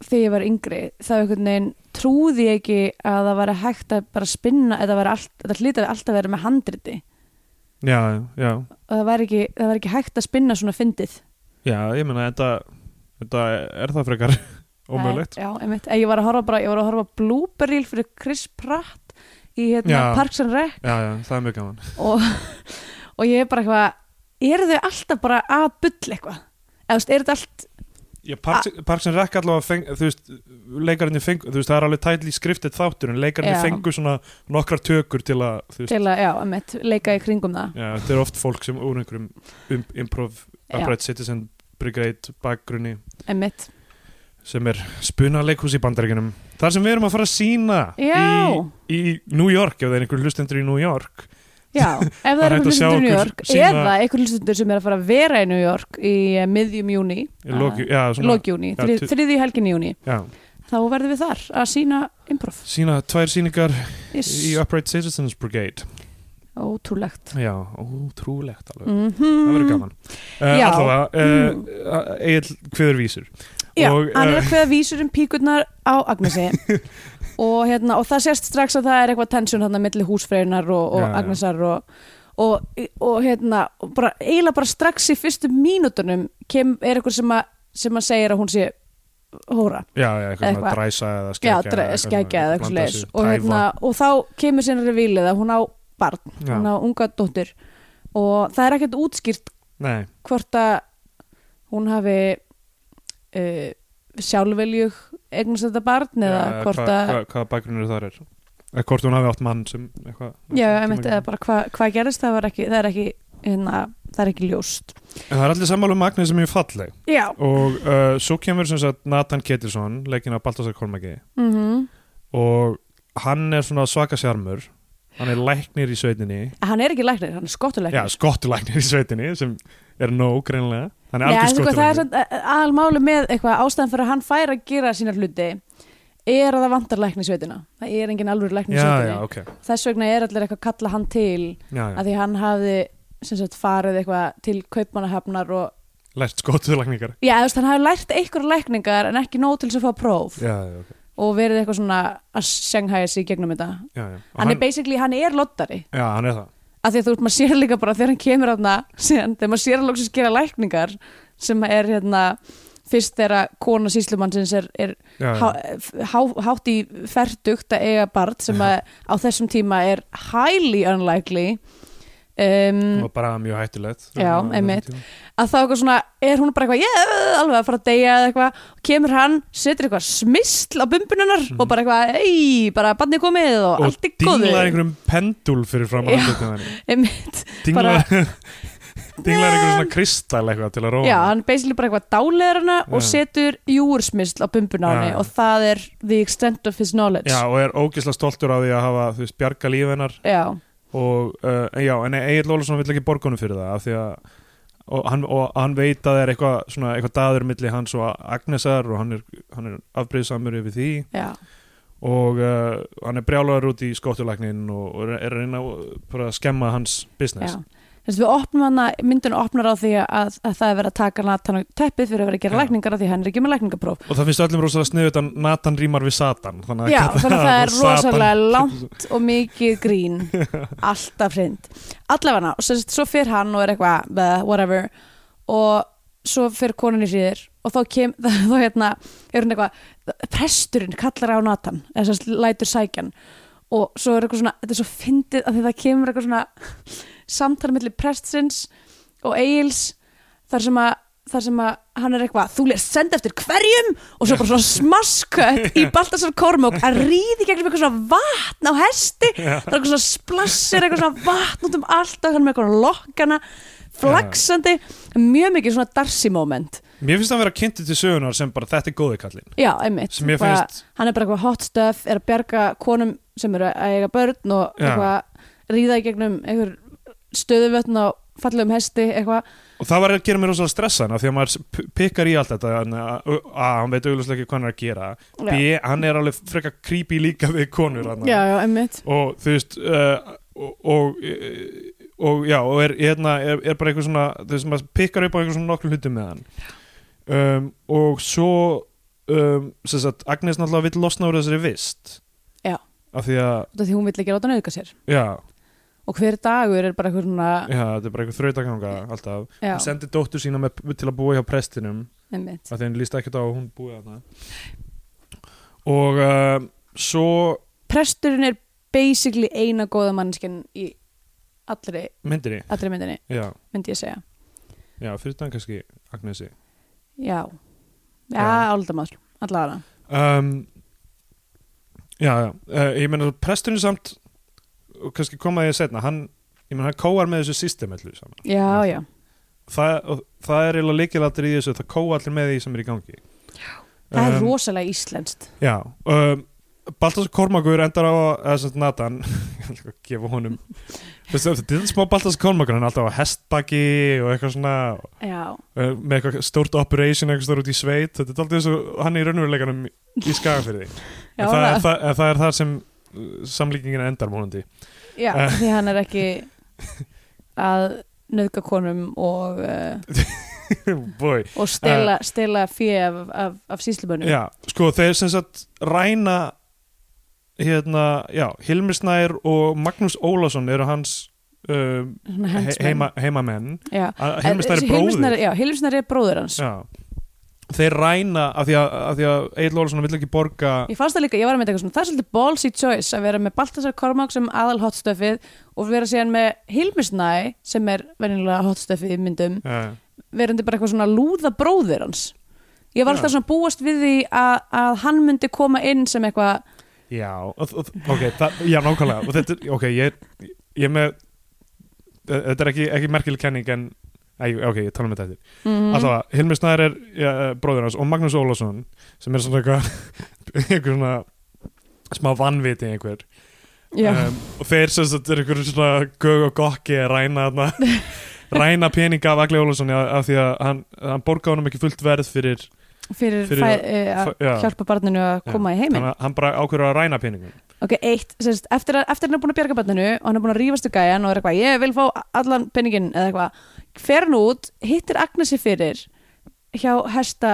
B: þegar ég var yngri það var einhvern veginn trúði ég ekki að það var hægt að bara spinna eða var allt, þetta hlýtaði alltaf að vera með handriti
C: já, já,
B: og það var ekki, það var ekki hægt að spinna svona fyndið
C: já, ég meina þetta, þetta er það frekar ómögulegt
B: Já, einmitt, En ég var að horfa bara, ég var að horfa blúberil fyrir Chris Pratt í hérna
C: Já.
B: Parks and Rec
C: já, já, það er mjög gaman
B: og, og ég er bara eitthvað eru þau alltaf bara að bull eitthvað eða þú veist, er þetta allt
C: já, Parks,
B: Ah.
C: Parks and Rec allavega feng, þú veist, leikarinnir fengu þú veist, það er alveg tætli skriftið þáttur en leikarinnir
B: Já.
C: fengu svona nokkrar tökur til að, þú veist,
B: til að, já, einmitt, leika í kringum það
C: já, þetta er oft fólk sem úr einhverjum um, improv,
B: Já.
C: upright citizen brigade, bakgrunni
B: Emmitt,
C: sem er spunaleikús í bandaríkinum þar sem við erum að fara að sína
B: Já.
C: í, í New York, ef það er einhver hlustendur í New York
B: Já, ef það er
C: er hægt að
B: einhver
C: sjá
B: hlustendur í New
C: okkur
B: York
C: sýna-
B: eða einhver hlustendur sem er að fara að vera í New York í eh, miðjum júni
C: í loki, já, svona,
B: lokjúni,
C: Já, tu-
B: þriði helgin í júni
C: já,
B: þá verðum við þar að sína improv
C: sína tvær síningar
B: yes.
C: í Upright Citizens Brigade
B: ótrúlegt
C: já, ótrúlegt alveg
B: mm
C: það verður gaman uh,
B: Já. Mm.
C: allavega, uh, Egil hviður vísur
B: Já,
C: Og,
B: hann er
C: eh,
B: að hveða vísur um píkurnar á Agnesi og, hérna, og það sést strax að það er eitthvað tension hann að milli húsfreynar og, og
C: Já, já.
B: Agnesar og, og, og hérna og bara, eiginlega bara strax í fyrstu mínútunum kem, er eitthvað sem, að, sem að segir að hún sé hóra
C: já, já, eitthvað svona
B: Eitthvað.
C: dræsa eða
B: Já,
C: skeggja
B: dre- skeggja eða eitthvað
C: blanda
B: leis
C: þessu,
B: og, hérna, og þá kemur sinna revílið að hún á barn,
C: Já.
B: hún á unga dóttur og það er ekkert útskýrt
C: tæfa. nei,
B: hvort að hún hafi uh, sjálfveljug eignast þetta barn eða
C: Já,
B: hvort
C: hvað-
B: að
C: hvað- hvaða bakgrunnur þar er eða hvort hún hafi átt mann sem eitthvað
B: já,
C: eitthvað
B: einmitt,
C: tíma-
B: eða bara hvað hva gerist það, var ekki, það er ekki hérna, það er ekki ljóst
C: En það er allir sammála um Agnes sem er falleg
B: já,
C: og uh, svo kemur sem sagt Nathan Ketilsson leikinn af Baltasar Kolmagi
B: mm
C: og hann er svona svaka sjarmur hann er læknir í sveitinni
B: hann er ekki læknir, hann er skottulæknir
C: já, skottulæknir í sveitinni sem er nóg greinlega hann er
B: Já,
C: algjör
B: en sko, það er
C: skottulæknir
B: samt aðalmáli með eitthvað ástæðan fyrir að hann fær að gera sína hluti er að það vantar lækni í sveitina það er engin alveg lækni í
C: já, já,
B: sveitina
C: ok
B: þess vegna er allir eitthvað að kalla hann til
C: já, já.
B: að því hann hafði sem sagt farið eitthvað til kaupmannahafnar og
C: lært skottulækningar
B: já, þú veist, hann hafði lært einhverja lækningar en ekki nóg til þess að fá próf
C: já, já, ok
B: og verið eitthvað svona að sjanghæja sig í gegnum þetta hann,
C: já, já. Og
B: er basically, hann er lottari
C: já, hann er það
B: af því að þú veist, maður sér líka bara þegar hann kemur aðna, síðan, þegar maður sér að loksins gera lækningar sem er hérna fyrst þegar kona síslumannsins er, er
C: já, já.
B: há, há, hátt í ferdugt að eiga barn sem að á þessum tíma er highly unlikely um,
C: og bara mjög hættulegt
B: Já,
C: Á þessum
B: einmitt.
C: tíma.
B: að þá eitthvað svona, er hún bara eitthvað yeah, alveg að fara að deyja eða eitthvað kemur hann, setur eitthvað smistl á bumbununnar og bara eitthvað, ei, bara barnið komið og,
C: Hmm. og
B: allt er góðu
C: dinglar einhverjum pendúl fyrir fram
B: Já.
C: að hann
B: einmitt,
C: dinglar dinglar einhverjum svona kristall eitthvað til að róa
B: já,
C: hann.
B: hann basically bara eitthvað dálegar hana og
C: Já.
B: setur júursmistl á bumbuna á henni
C: Já.
B: og það er the extent of his knowledge
C: Já, og er ógislega stoltur á því að hafa þú veist, bjarga líf hennar
B: já,
C: og uh, en já, en Egil Ólafsson vill ekki borgunum fyrir það af því að og hann, og hann veit að það er eitthvað, svona, eitthvað daður milli hans og Agnesar og hann er, hann er afbreyðsamur yfir því
B: já.
C: og uh, hann er brjálaður út í skottulæknin og, og er að reyna að- bara að skemma hans business
B: Já. Þess að við opnum hana, myndin opnar á því að, að það er verið að taka Nathan á teppið fyrir að vera að gera
C: Já.
B: lækningar af því að hann er ekki með lækningapróf.
C: og það finnst öllum rosalega sniðut að Nathan rýmar við Satan þannig að
B: Já,
C: kalla
B: þannig að það er
C: Satan-
B: rosalega langt og mikið grín, alltaf hrind. Allavega, og sérst, svo fer hann og er eitthvað, bleh, whatever, og svo fer konan í hríðir og þá kem, þá hérna, er hún eitthvað, presturinn kallar á Nathan, eða sérst, lætur sækjan og svo er eitthvað svona, þetta er svo fyndið að því það kemur eitthvað svona samtal millir prestsins og Egils þar sem að þar sem að hann er eitthvað, þú lérst senda eftir hverjum og svo bara svona smaskött í Baltasar Kormók að ríði gegnum eitthvað svona vatn á hesti það er eitthvað svona splassir, eitthvað svona vatn út um allt og hann er með eitthvað lokkana flaksandi, mjög mikið svona darsi moment,
C: Mér finnst það að vera kynnti til sögunar sem bara þetta er góði kallinn
B: já, einmitt
C: sem ég
B: Bara-
C: finnst,
B: hann er bara eitthvað hot stuff er að bjarga konum sem eru að eiga börn og
C: Já.
B: eitthvað ríða í gegnum einhver stöðuvötn á fallegum hesti eitthvað
C: og það var að gera mér rosalega stressan af því að maður s- p- pikkar í allt þetta þannig að a, a, hann veit augljóslega ekki hvað hann er að gera
B: Já.
C: B, hann er alveg frekar creepy líka við konur hann
B: já, já, einmitt
C: og þú veist uh, og, og, eh, og já, og er, hérna, er, er bara eitthvað svona þú veist, maður pikkar upp á einhver svona nokkur hlutum með hann um, og svo um, sem sagt, Agnes náttúrulega vill losna úr þessari vist
B: Já.
C: af því að,
B: Út af því hún vill ekki láta nöðka sér
C: já,
B: og hver dagur er bara eitthvað svona
C: já þetta er bara eitthvað þrautaganga alltaf
B: já,
C: hún sendi dóttur sína með, til að búa hjá prestinum
B: einmitt
C: af því henni líst ekkert á að hún búi að það og uh, svo
B: presturinn er basically eina góða mannskinn í allri,
C: myndinni
B: allri myndinni
C: já,
B: myndi ég segja
C: já, fyrir þannig kannski Agnesi
B: já, já,
C: Já.
B: áldamaður allara,
C: um, já, já, uh, ég meina presturinn samt og kannski koma því að setna hann, ég meina hann kóar með þessu system allu saman
B: já, já
C: það, og það er eiginlega líkilatir í þessu það kóa allir með því sem er í gangi
B: það er
C: Um,
B: rosalega íslenskt
C: Já, um, Baltas Kormakur endar á að, eða sem sagt Nathan ég ætla ekki að gefa honum Veistu, þetta er smá Baltas Kormakur, hann er alltaf á hestbaki og eitthvað svona
B: já,
C: uh, með eitthvað stórt operation eitthvað stórt út í sveit, þetta er alltaf eins og hann er í raunveruleikanum í skagafyrði
B: já,
C: en það, er, það, en það er það sem uh, samlíkingin endar múnandi
B: já
C: Eh.
B: því hann er ekki að nöðga konum og, uh,
C: Boy.
B: og stela, stela fyrir af, af, af síslubönnum
C: Uh, Já, sko þeir sem sagt ræna hérna, já, Hilmi Snær og Magnús Ólason eru hans uh, he- heima, heimamenn
B: já. Eh, Hilmir Snær-
C: Hilmisnæri bróðir
B: já, Hilmisnær er bróður hans
C: Já. Þeir ræna af því að, af því að Egil Olsson vill ekki borga
B: Ég fannst það líka, ég var að mynda eitthvað svona, það er svolítið ballsy choice að vera með Baltasar Kormák sem aðal hotstöfið og vera síðan með Hilmisnæ sem er venjulega hotstöfið í myndum,
C: Já,
B: verandi bara eitthvað svona lúða bróðir hans. Ég var
C: Já.
B: alltaf svona búast við því að, að hann myndi koma inn sem eitthvað,
C: já og- og- ok, það, já nákvæmlega og þetta, er- ok, ég, ég er með e, þetta er ekki, ekki merkileg kenning en, æ, ok, ég tala um þetta eftir
B: mm,
C: Alltaf að Hilmi Snæður er ja, bróður hans og Magnús Ólafsson sem er svona eitthvað einhver svona smá vannviti einhver
B: já,
C: um, og þeir sem þetta er einhver svona gög og gokki að ræna þarna ræna peninga af Agli Ólafsson af, af því að hann, hann borgaði honum ekki fullt verð fyrir
B: fyrir,
C: fyrir
B: fæ,
C: að-
B: eh, að
C: fæ- já.
B: hjálpa barninu að
C: Já,
B: koma í heiminn.
C: þannig að hann bara ákveður að ræna peningum
B: Ok, eitt, sérst, eftir að eftir að hann er búin að bjarga barninu og hann er búin að rífast við gæjan og er eitthvað, ég vil fá allan penningin eða eitthvað, fer hann út hittir Agnesi fyrir hjá hesta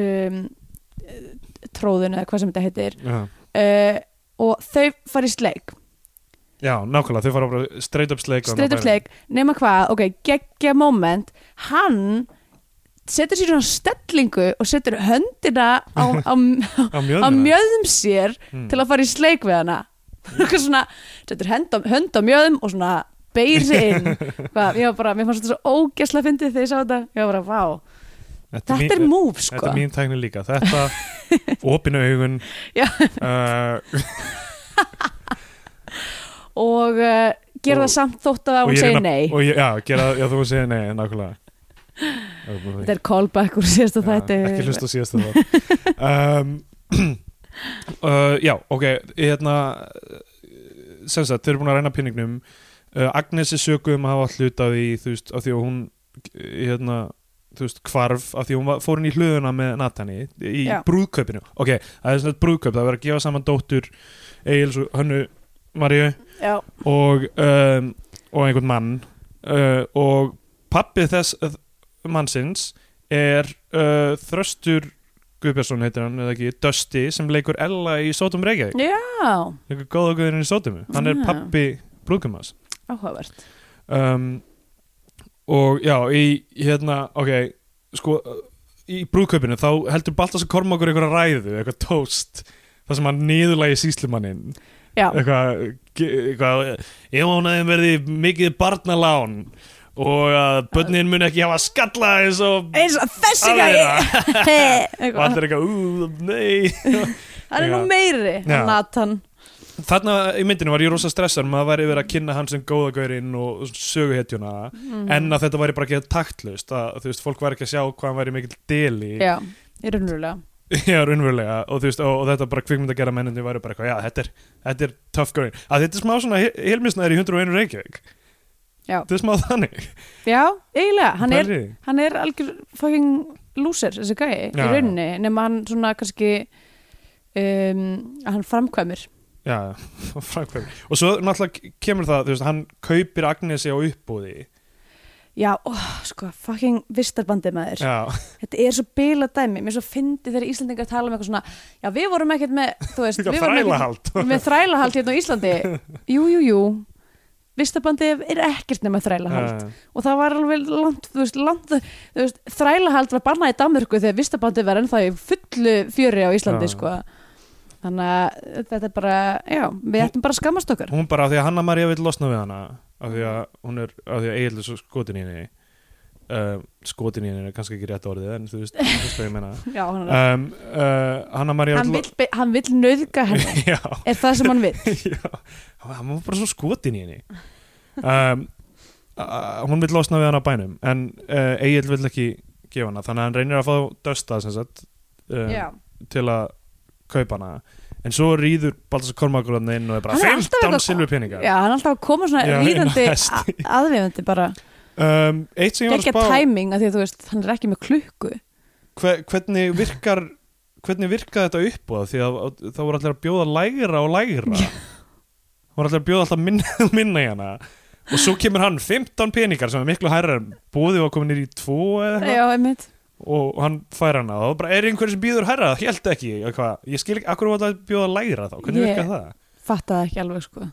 B: um, tróðun eða hvað sem þetta heitir
C: já,
B: uh, og þau fara í sleik
C: já nákvæmlega, þau fara bara straight up sleik
B: straight up sleik, nema hvað, ok, geggja moment, hann setur sér svona stellingu og setur höndina á, á, á,
C: á Hmm.
B: á
C: mjöðum
B: mjöðum sér Mm. til að fara í sleik við hana eitthvað svona, setur hönd á, hönd á mjöðum og svona beir sig inn Hvað, ég var bara, mér fannst þetta svo ógæslega fyndið þegar ég sá þetta, ég var bara, vá þetta er move, sko
C: Þetta er mín tækni líka, þetta, opinu augun
B: Já.
C: uh,
B: og uh, gera
C: Og-
B: það samt þótt að
C: og
B: hún
C: ég
B: segir
C: reyna-
B: nei
C: og ég, Já, gera, já þú segir nei, nákvæmlega
B: þetta er callback úr síðasta þætti
C: Já, ekki hlusta á síðast það um, uh, já, ok hérna uh, sem sagt, þau eru búin að reyna pinningnum uh, Agnes er sökuð um að hafa allt hlut af því þú veist, af því að hún hérna, þú veist, hvarf af því að hún var, fór inn í hlöðuna með Natani í
B: Já.
C: brúðkaupinu, ok, það er svona brúðkaup það verður að gefa saman dóttur Egils og Hönnu Maríu
B: já,
C: og, um, og einhvern mann uh, og pappið þess uh, mannsins er uh, Þröstur Guðbjörnsson heitir hann, eða ekki, Dusty sem leikur Ella í Sótum Reykjavík
B: já
C: einhver góða guðurinn í Sótumu, hann er
B: Ah.
C: pappi Brúðkumas
B: áhugavert
C: um, og já, í hérna, ok sko, uh, í brúðkaupinu þá heldur Baltas að korma okkur einhverja ræðu eitthvað tóst, þar sem hann niðurlægi síslumanninn
B: já,
C: eitthvað, eitthvað ég vona að þeim verði mikið barnalán og að börnin mun ekki hafa skalla eins og
B: eins og þessi
C: aðra.
B: gæi
C: og
B: Eitthvað,
C: allir eitthvað, ú, nei
B: hann er nú
C: Já.
B: meiri
C: Já.
B: en Nathan
C: þarna í myndinu var ég rosa stressar maður væri verið að kynna hann sem góðagaurinn og söguhetjuna
B: Mm.
C: en að þetta væri bara ekki taktlust að þú veist, fólk væri ekki að sjá hvað hann væri mikill deli
B: já, ég raunverulega
C: Já, raunverulega og, þú veist, og, og þetta bara kvikmynd að gera mennandi væri bara eitthvað, já, þetta er, þetta er tough going að þetta er smá svona hilmisnaður í 101 Reykjavík
B: Já.
C: þetta er smá þannig
B: já, eiginlega, hann er,
C: Pælið.
B: hann er algjör fucking loser, þessi gæi í
C: Já.
B: rauninni, nema hann svona kannski um, að hann framkvæmir
C: Já, framkvæmur. Og svo náttúrulega kemur það, þú veist, hann kaupir Agnesi á uppbúði.
B: já, ó, sko, fucking vistarbandi maður
C: Já,
B: þetta er svo bila dæmi, mér er svo fyndi þegar Íslandingar tala um eitthvað svona, já, við vorum ekkert með, þú veist,
C: líka
B: við vorum ekkert
C: þrælahald.
B: með þrælahald hérna á Íslandi jú, jú, jú Vistarbandi er ekkert nema þrælahald
C: Já,
B: og það var alveg langt, þú veist, langt þú veist, þrælahald var bannað í Danmörku þegar Vistarbandi var ennþá í fullu fjöri á Íslandi
C: Já.
B: sko. þannig að þetta er bara já, við ættum bara að skammast okkar
C: Hún bara, af því að Hanna María vil losna við hana, af því að hún er, af því að Egil er svo skotin í henni. Uh, skotin í henni er kannski ekki rétt orðið, en þú veist, þú veist hvað ég meina.
B: já, hann, er-
C: Um, uh, Hanna María
B: hann, vill, be- hann vill nöðga henni
C: Já,
B: er það sem hann vill
C: já. Hann var bara svo skotin í henni. Um, uh, hún vil losna við hana á bænum, eh, en uh, Egil vil ekki gefa hana, þannig að hann reynir að fá dösta, sem sagt. Um,
B: já,
C: til að kaupa hana en svo rýður Baltasar Kormakur þarna inn og er bara
B: Hann er alltaf
C: 15
B: eitthvað-
C: silfurpeningar
B: Já, hann er alltaf að koma svona
C: Já,
B: ríðandi
C: inn á hesti.
B: a- aðvíðandi bara
C: um, eitt sem ég var að
B: geggja
C: spá
B: tæming að því að þú veist, hann er ekki með klukku
C: hver, hvernig virkar hvernig virka þetta upp á það því að að- það voru allir að bjóða lægra og lægra það voru allir að bjóða alltaf minna, og minna í hana og svo kemur hann 15 peningar sem er miklu hærra en búði var komin nýr í 2 eða eitthvað
B: Já, einmitt
C: og hann fær hana og bara er einhver sem býður hærra, held ekki eða hvað? ég skil ekki, akkur var alltaf að bjóða lægra þá hvernig
B: Ég-
C: virkar það?
B: Fattaði ekki alveg sko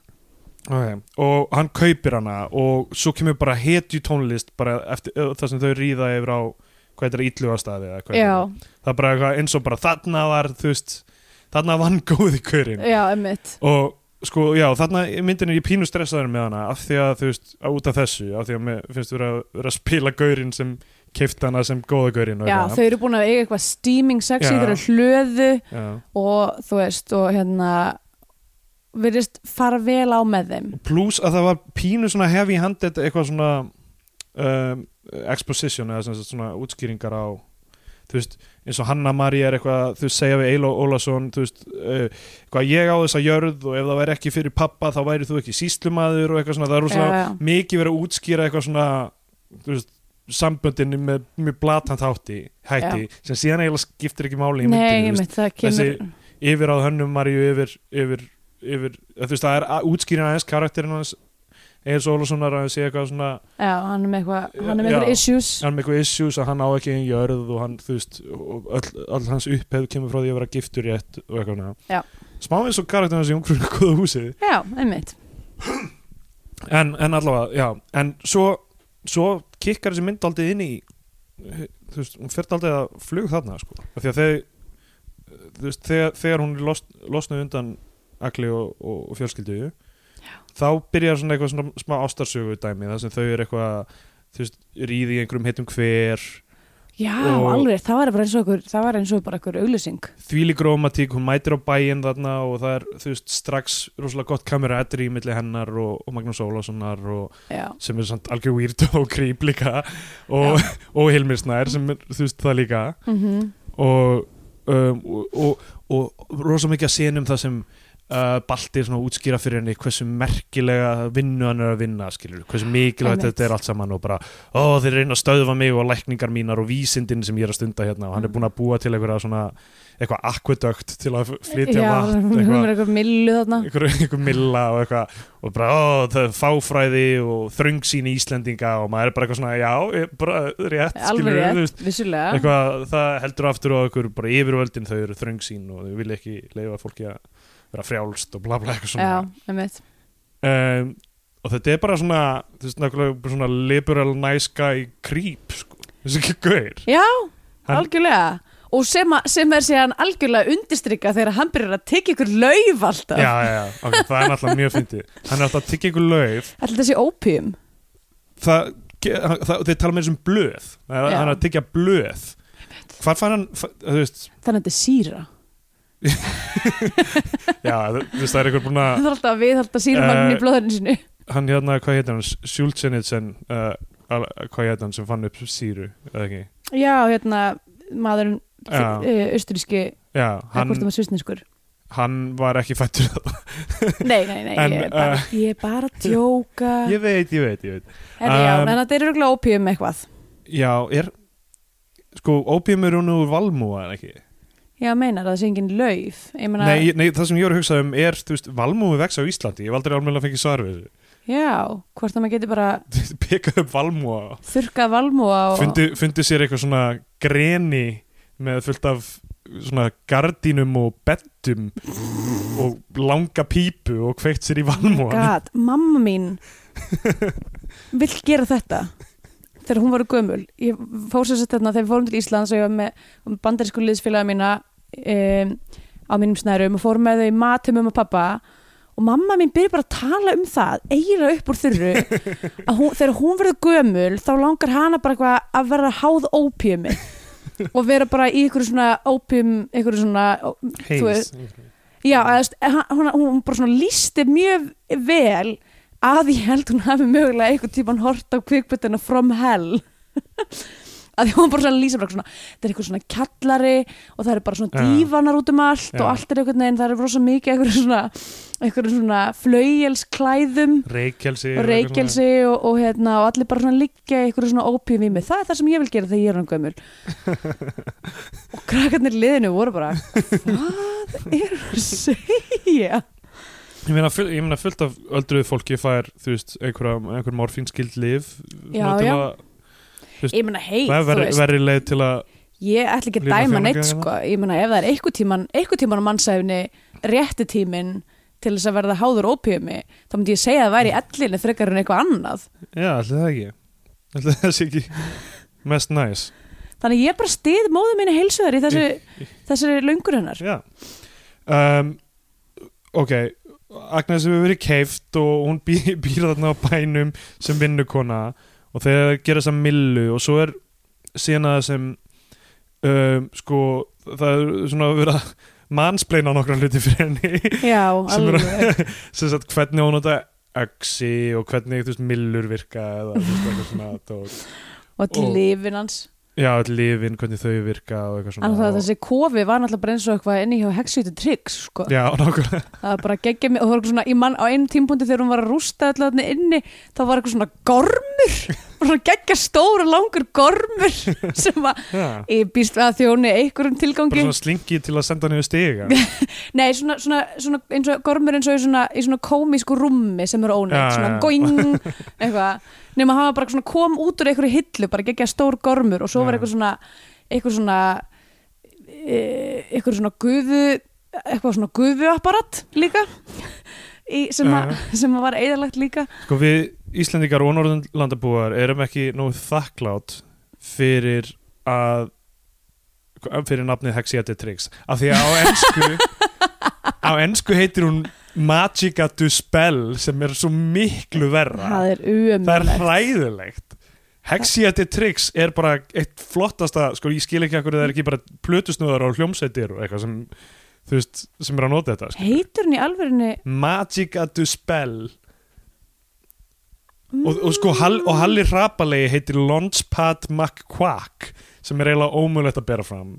C: Okay. og hann kaupir hana og svo kemur bara hetju tónlist bara eftir, ö, þar sem þau ríða yfir á hvað þetta er ítlugastæði eða hvað þetta er.
B: Já,
C: það er bara eitthvað eins og bara þarna var þú veist, þarna vann góði körin
B: já, einmitt
C: og sko, já, þarna í myndinni er ég pínu stressaður með hana af því að, þú veist, á- út af þessu af því að mér finnst vera, vera að spila gaurin sem keift hana sem góða gaurin
B: Já, þau eru búin að eiga eitthvað steaming sexi,
C: Já.
B: þau eru hlöðu
C: já.
B: og þú veist, og hérna virðist fara vel á með þeim
C: plus að það var pínu svona heavy handed eitthvað svona um, exposition eða sem sagt svona útskýringar á þú veist, eins og Hanna María er eitthvað þú veist, segja við Eilo Ólason þú veist, uh, eitthvað ég á þessa jörð og ef það væri ekki fyrir pappa þá væri þú ekki síslumaður og eitthvað svona, það er
B: Já,
C: rosalega
B: já.
C: mikið verið að útskýra eitthvað svona þú veist, samböndinni með mjög blatant hátti, hætti sem síðan eiginlega skiptir ekki máli í
B: Nei,
C: myndinni, þú veist,
B: einmitt, það kemur
C: þessi- yfir á hönnum Maríu yfir, yfir, yfir þú veist, það er að- útskýrin aðeins karakterin aðeins Egil Sólussonar að sé eitthvað svona
B: Já, hann er með eitthvað, hann er með
C: Já.
B: eitthvað issues
C: hann er með eitthvað issues að hann á ekki einn jörð og hann, þú veist, og öll, öll hans upphefð kemur frá því að vera giftur rétt og eitthvað svona.
B: Já.
C: smá eins og karakterin aðeins í umgrunni góða húsið
B: Já, einmitt
C: en, en allavega, já en svo, svo kikkar þessi mynd aldrei inn í þú veist, hún fyrir aldrei að flug þarna sko. af því að þeir þú veist, þegar, þegar hún los, losnaði undan Agli og, og, og fjölskyldu já. þá byrjar svona eitthvað svona smá ástarsögu dæmi þar sem þau eru eitthvað þú veist, ríði í einhverjum hittum hver
B: Já,
C: Og-
B: alveg, það var bara eins og okkur, það var eins og bara okkur auglýsing
C: þvílík rómatík, hún mætir á bæinn þarna og það er, þú veist, strax rosalega gott kameratri í milli hennar og, og Magnús Ólasonar og
B: Já,
C: sem er samt algjör weird og creep líka og, og Hilmir Snær sem er, þú veist það líka
B: mhm
C: og, um, og, og, og rosa mikið að senum það sem uh, Balti er svona að útskýra fyrir henni hversu merkilega vinnu hann er að vinna skilur, hversu mikilvægt
B: Einmitt.
C: þetta er allt saman og bara, ó þeir reyna að stöðva mig og lækningar mínar og vísindin sem ég er að stunda hérna og
B: Mm.
C: hann er búin að búa til eitthvað svona eitthvað akvedögt til að flytja
B: Já,
C: vatn
B: hún
C: eitthvað
B: er eitthvað millu þarna
C: einhver, einhver milla og eitthvað og bara, ó, það er fáfræði og þröngsýni Íslendinga og maður er bara eitthvað svona, já, ég- bara rétt
B: Alveg
C: skilurðu, þú
B: rétt, vissulega
C: eitthvað, það heldur aftur á okkur bara yfirvöldin, þau eru þröngsýn og þau vilja ekki leifa fólki að vera frjálst og bla bla eitthvað svona
B: Já, einmitt
C: um, og þetta er bara svona, þú veist, nákvæmlega bara svona liberal nice guy creep, sko, þessi ekki gaur
B: Já,
C: Hann-
B: algjörlega Og sem, að- sem er síðan algjörlega undirstrykka þegar hann byrjar að tekja ykkur lauf alltaf
C: Já, já, já, ok, það er náttúrulega mjög fyndið Hann er alltaf að tyggja einhver lauf
B: Alltaf þessi ópíum
C: það, ge- hann- það, þeir tala með þessum blöð það, er-
B: Já.
C: hann er að tyggja blöð hvar fann hann, fa- þú veist
B: Þannig að þetta er síra
C: já, þú þú veist, það er einhver búin
B: Það
C: að
B: er alltaf að viðhalda sírumagnin
C: Eh,
B: í blóðurinn sinu
C: hann hérna, hvað heitir hann, Sjúltsenitsen uh, al- hvað heitir hann sem fann upp síru, eða ekki
B: Já, hérna, maðurinn
C: Já.
B: eh, Austuríski,
C: já,
B: hann...
C: hann,
B: hvort það var svissneskur
C: hann var ekki fættur
B: Nei, nei, nei,
C: En,
B: ég,
C: eh,
B: er bara, ég er bara að djóka
C: ég veit, ég veit, ég veit
B: Herri, já,
C: um,
B: En þetta er örugglega ópíum eitthvað
C: já, er sko, ópíum er hún úr valmúa en ekki
B: Já, meinar að það sé engin lauf Ég meina,
C: nei, nei, það sem ég var að hugsa um er, þú veist, valmúi vex á Íslandi ég hef aldrei alveg að fengið svar við
B: já, hvort að maður getur bara
C: þessu peka upp valmúa
B: þurkað valmúa og...
C: fundi, fundi sér eitthvað svona greni með fullt af svona gardínum og bettum og langa pípu og kveikt sér í valmóan
B: Oh God, mamma mín vill gera þetta þegar hún var gömul ég fór sér sett þarna þegar við fórum til Íslands og ég var með bandarísku liðsfélaga mína um, á mínum snærum og fórum með þau í mat til mamma og pappa og mamma mín byrja bara að tala um það eiginlega upp úr þurru að hún, þegar hún verður gömul þá langar hana bara eitthvað að vera háð ópjumi og vera bara í einhverju svona ópjum, einhverju svona þú veist- Já, eða, þú veist, eh, hann- hún, hún bara svona lísti mjög vel að ég held hún hafi mögulega einhvern tíman hort á kvikmyndina From Hell að því hún var bara svona að lýsa bara svona, það er eitthvað svona kjallari og það eru bara svona
C: Já.
B: dívanar út um allt
C: Já.
B: og allt er einhvern veginn, það eru rosa mikið einhverjum svona, einhverjum svona flaujelsklæðum
C: reykjelsi
B: og reykjelsi og, og, hérna, og allir bara svona liggja í einhverju svona ópjum í mig það er það sem ég vil gera þegar ég er hann gömul og krakkarnir í liðinu voru bara hvað er að segja
C: Ég meina, full, ég meina fullt af öldruð fólki fær, þú veist, einhverja, einhver morfínskild lif
B: Já,
C: náttúrulega,
B: ég meina hei,
C: Það er
B: þú
C: verri,
B: veist
C: verri leið til að
B: ég ætla ekki að
C: Lína
B: dæma neitt
C: þjónagjöfina.
B: sko ég meina ef það er einhver tíman einhver tíman á mannsæfni rétti tímin til þess að verða háður ópjumi þá myndi ég segja að það væri í ellinu frekar en eitthvað annað
C: Já, allir það ekki Allir það sé ekki mest næs
B: þannig ég bara stið móðu minni heilsuðar í þessu, þessari löngur hennar
C: Já um, Ok Agnes hefur verið keift og hún bý, býr þarna á bænum sem vinnukona og þegar það gera þess að millu og svo er síðan að sem um, sko það er svona verið að manspleina nokkra hluti fyrir henni
B: já,
C: sem er
B: alveg
C: sem sagt hvernig hún nota öksi og hvernig þú veist millur virka eða þú veist eitthvað svona tók.
B: og til
C: Og-
B: lifin hans
C: já, öll lifin, hvernig þau virka og eitthvað svona
B: Þannig að
C: og,
B: þessi kofi var náttúrulega bara eins og eitthvað inni hjá hexjúti tryggs sko.
C: já, nákvæmlega
B: það var bara geggja mig og það var eitthvað svona í mann á einum tímpunkti þegar hún var að rústa öllu þarna inni þá var eitthvað svona gormur bara svona geggja stóra langur gormur sem var
C: já.
B: ég býst við að þjóni einhverjum
C: bara
B: tilgangi
C: svona slingi til að senda niður stiga
B: nei, svona, svona, svona eins og gormur eins og í svona, í svona komísku rúmi sem eru óneitt,
C: Já,
B: svona
C: já.
B: going eitthvað, nema hann var bara svona kom út úr einhverju hillu, bara geggja stór gormur og svo var
C: Já.
B: eitthvað svona eitthvað svona e, eitthvað svona gufu eitthvað svona gufuapparat líka í, sem, að, sem að var eðalagt líka
C: sko við Íslendingar og Norðurlandabúar erum ekki nógu þakklátt fyrir að fyrir nafnið Hexiati Tricks af því að á ensku á ensku heitir hún Magica du Spell sem er svo miklu verra
B: það er
C: það er
B: umjulegt
C: hræðilegt Hexiati Tricks er bara eitt flottasta, sko ég skil ekki akkur það er ekki bara plötusnöðar og hljómsveitir og eitthvað sem, þú veist, sem er að nota þetta sko.
B: heitur hann í alverðinni
C: Magica du Spell og, og sko Hall,
B: Mm.
C: og Halli Hrapalegi heitir Launchpad McQuack sem er eiginlega ómögulegt að bera fram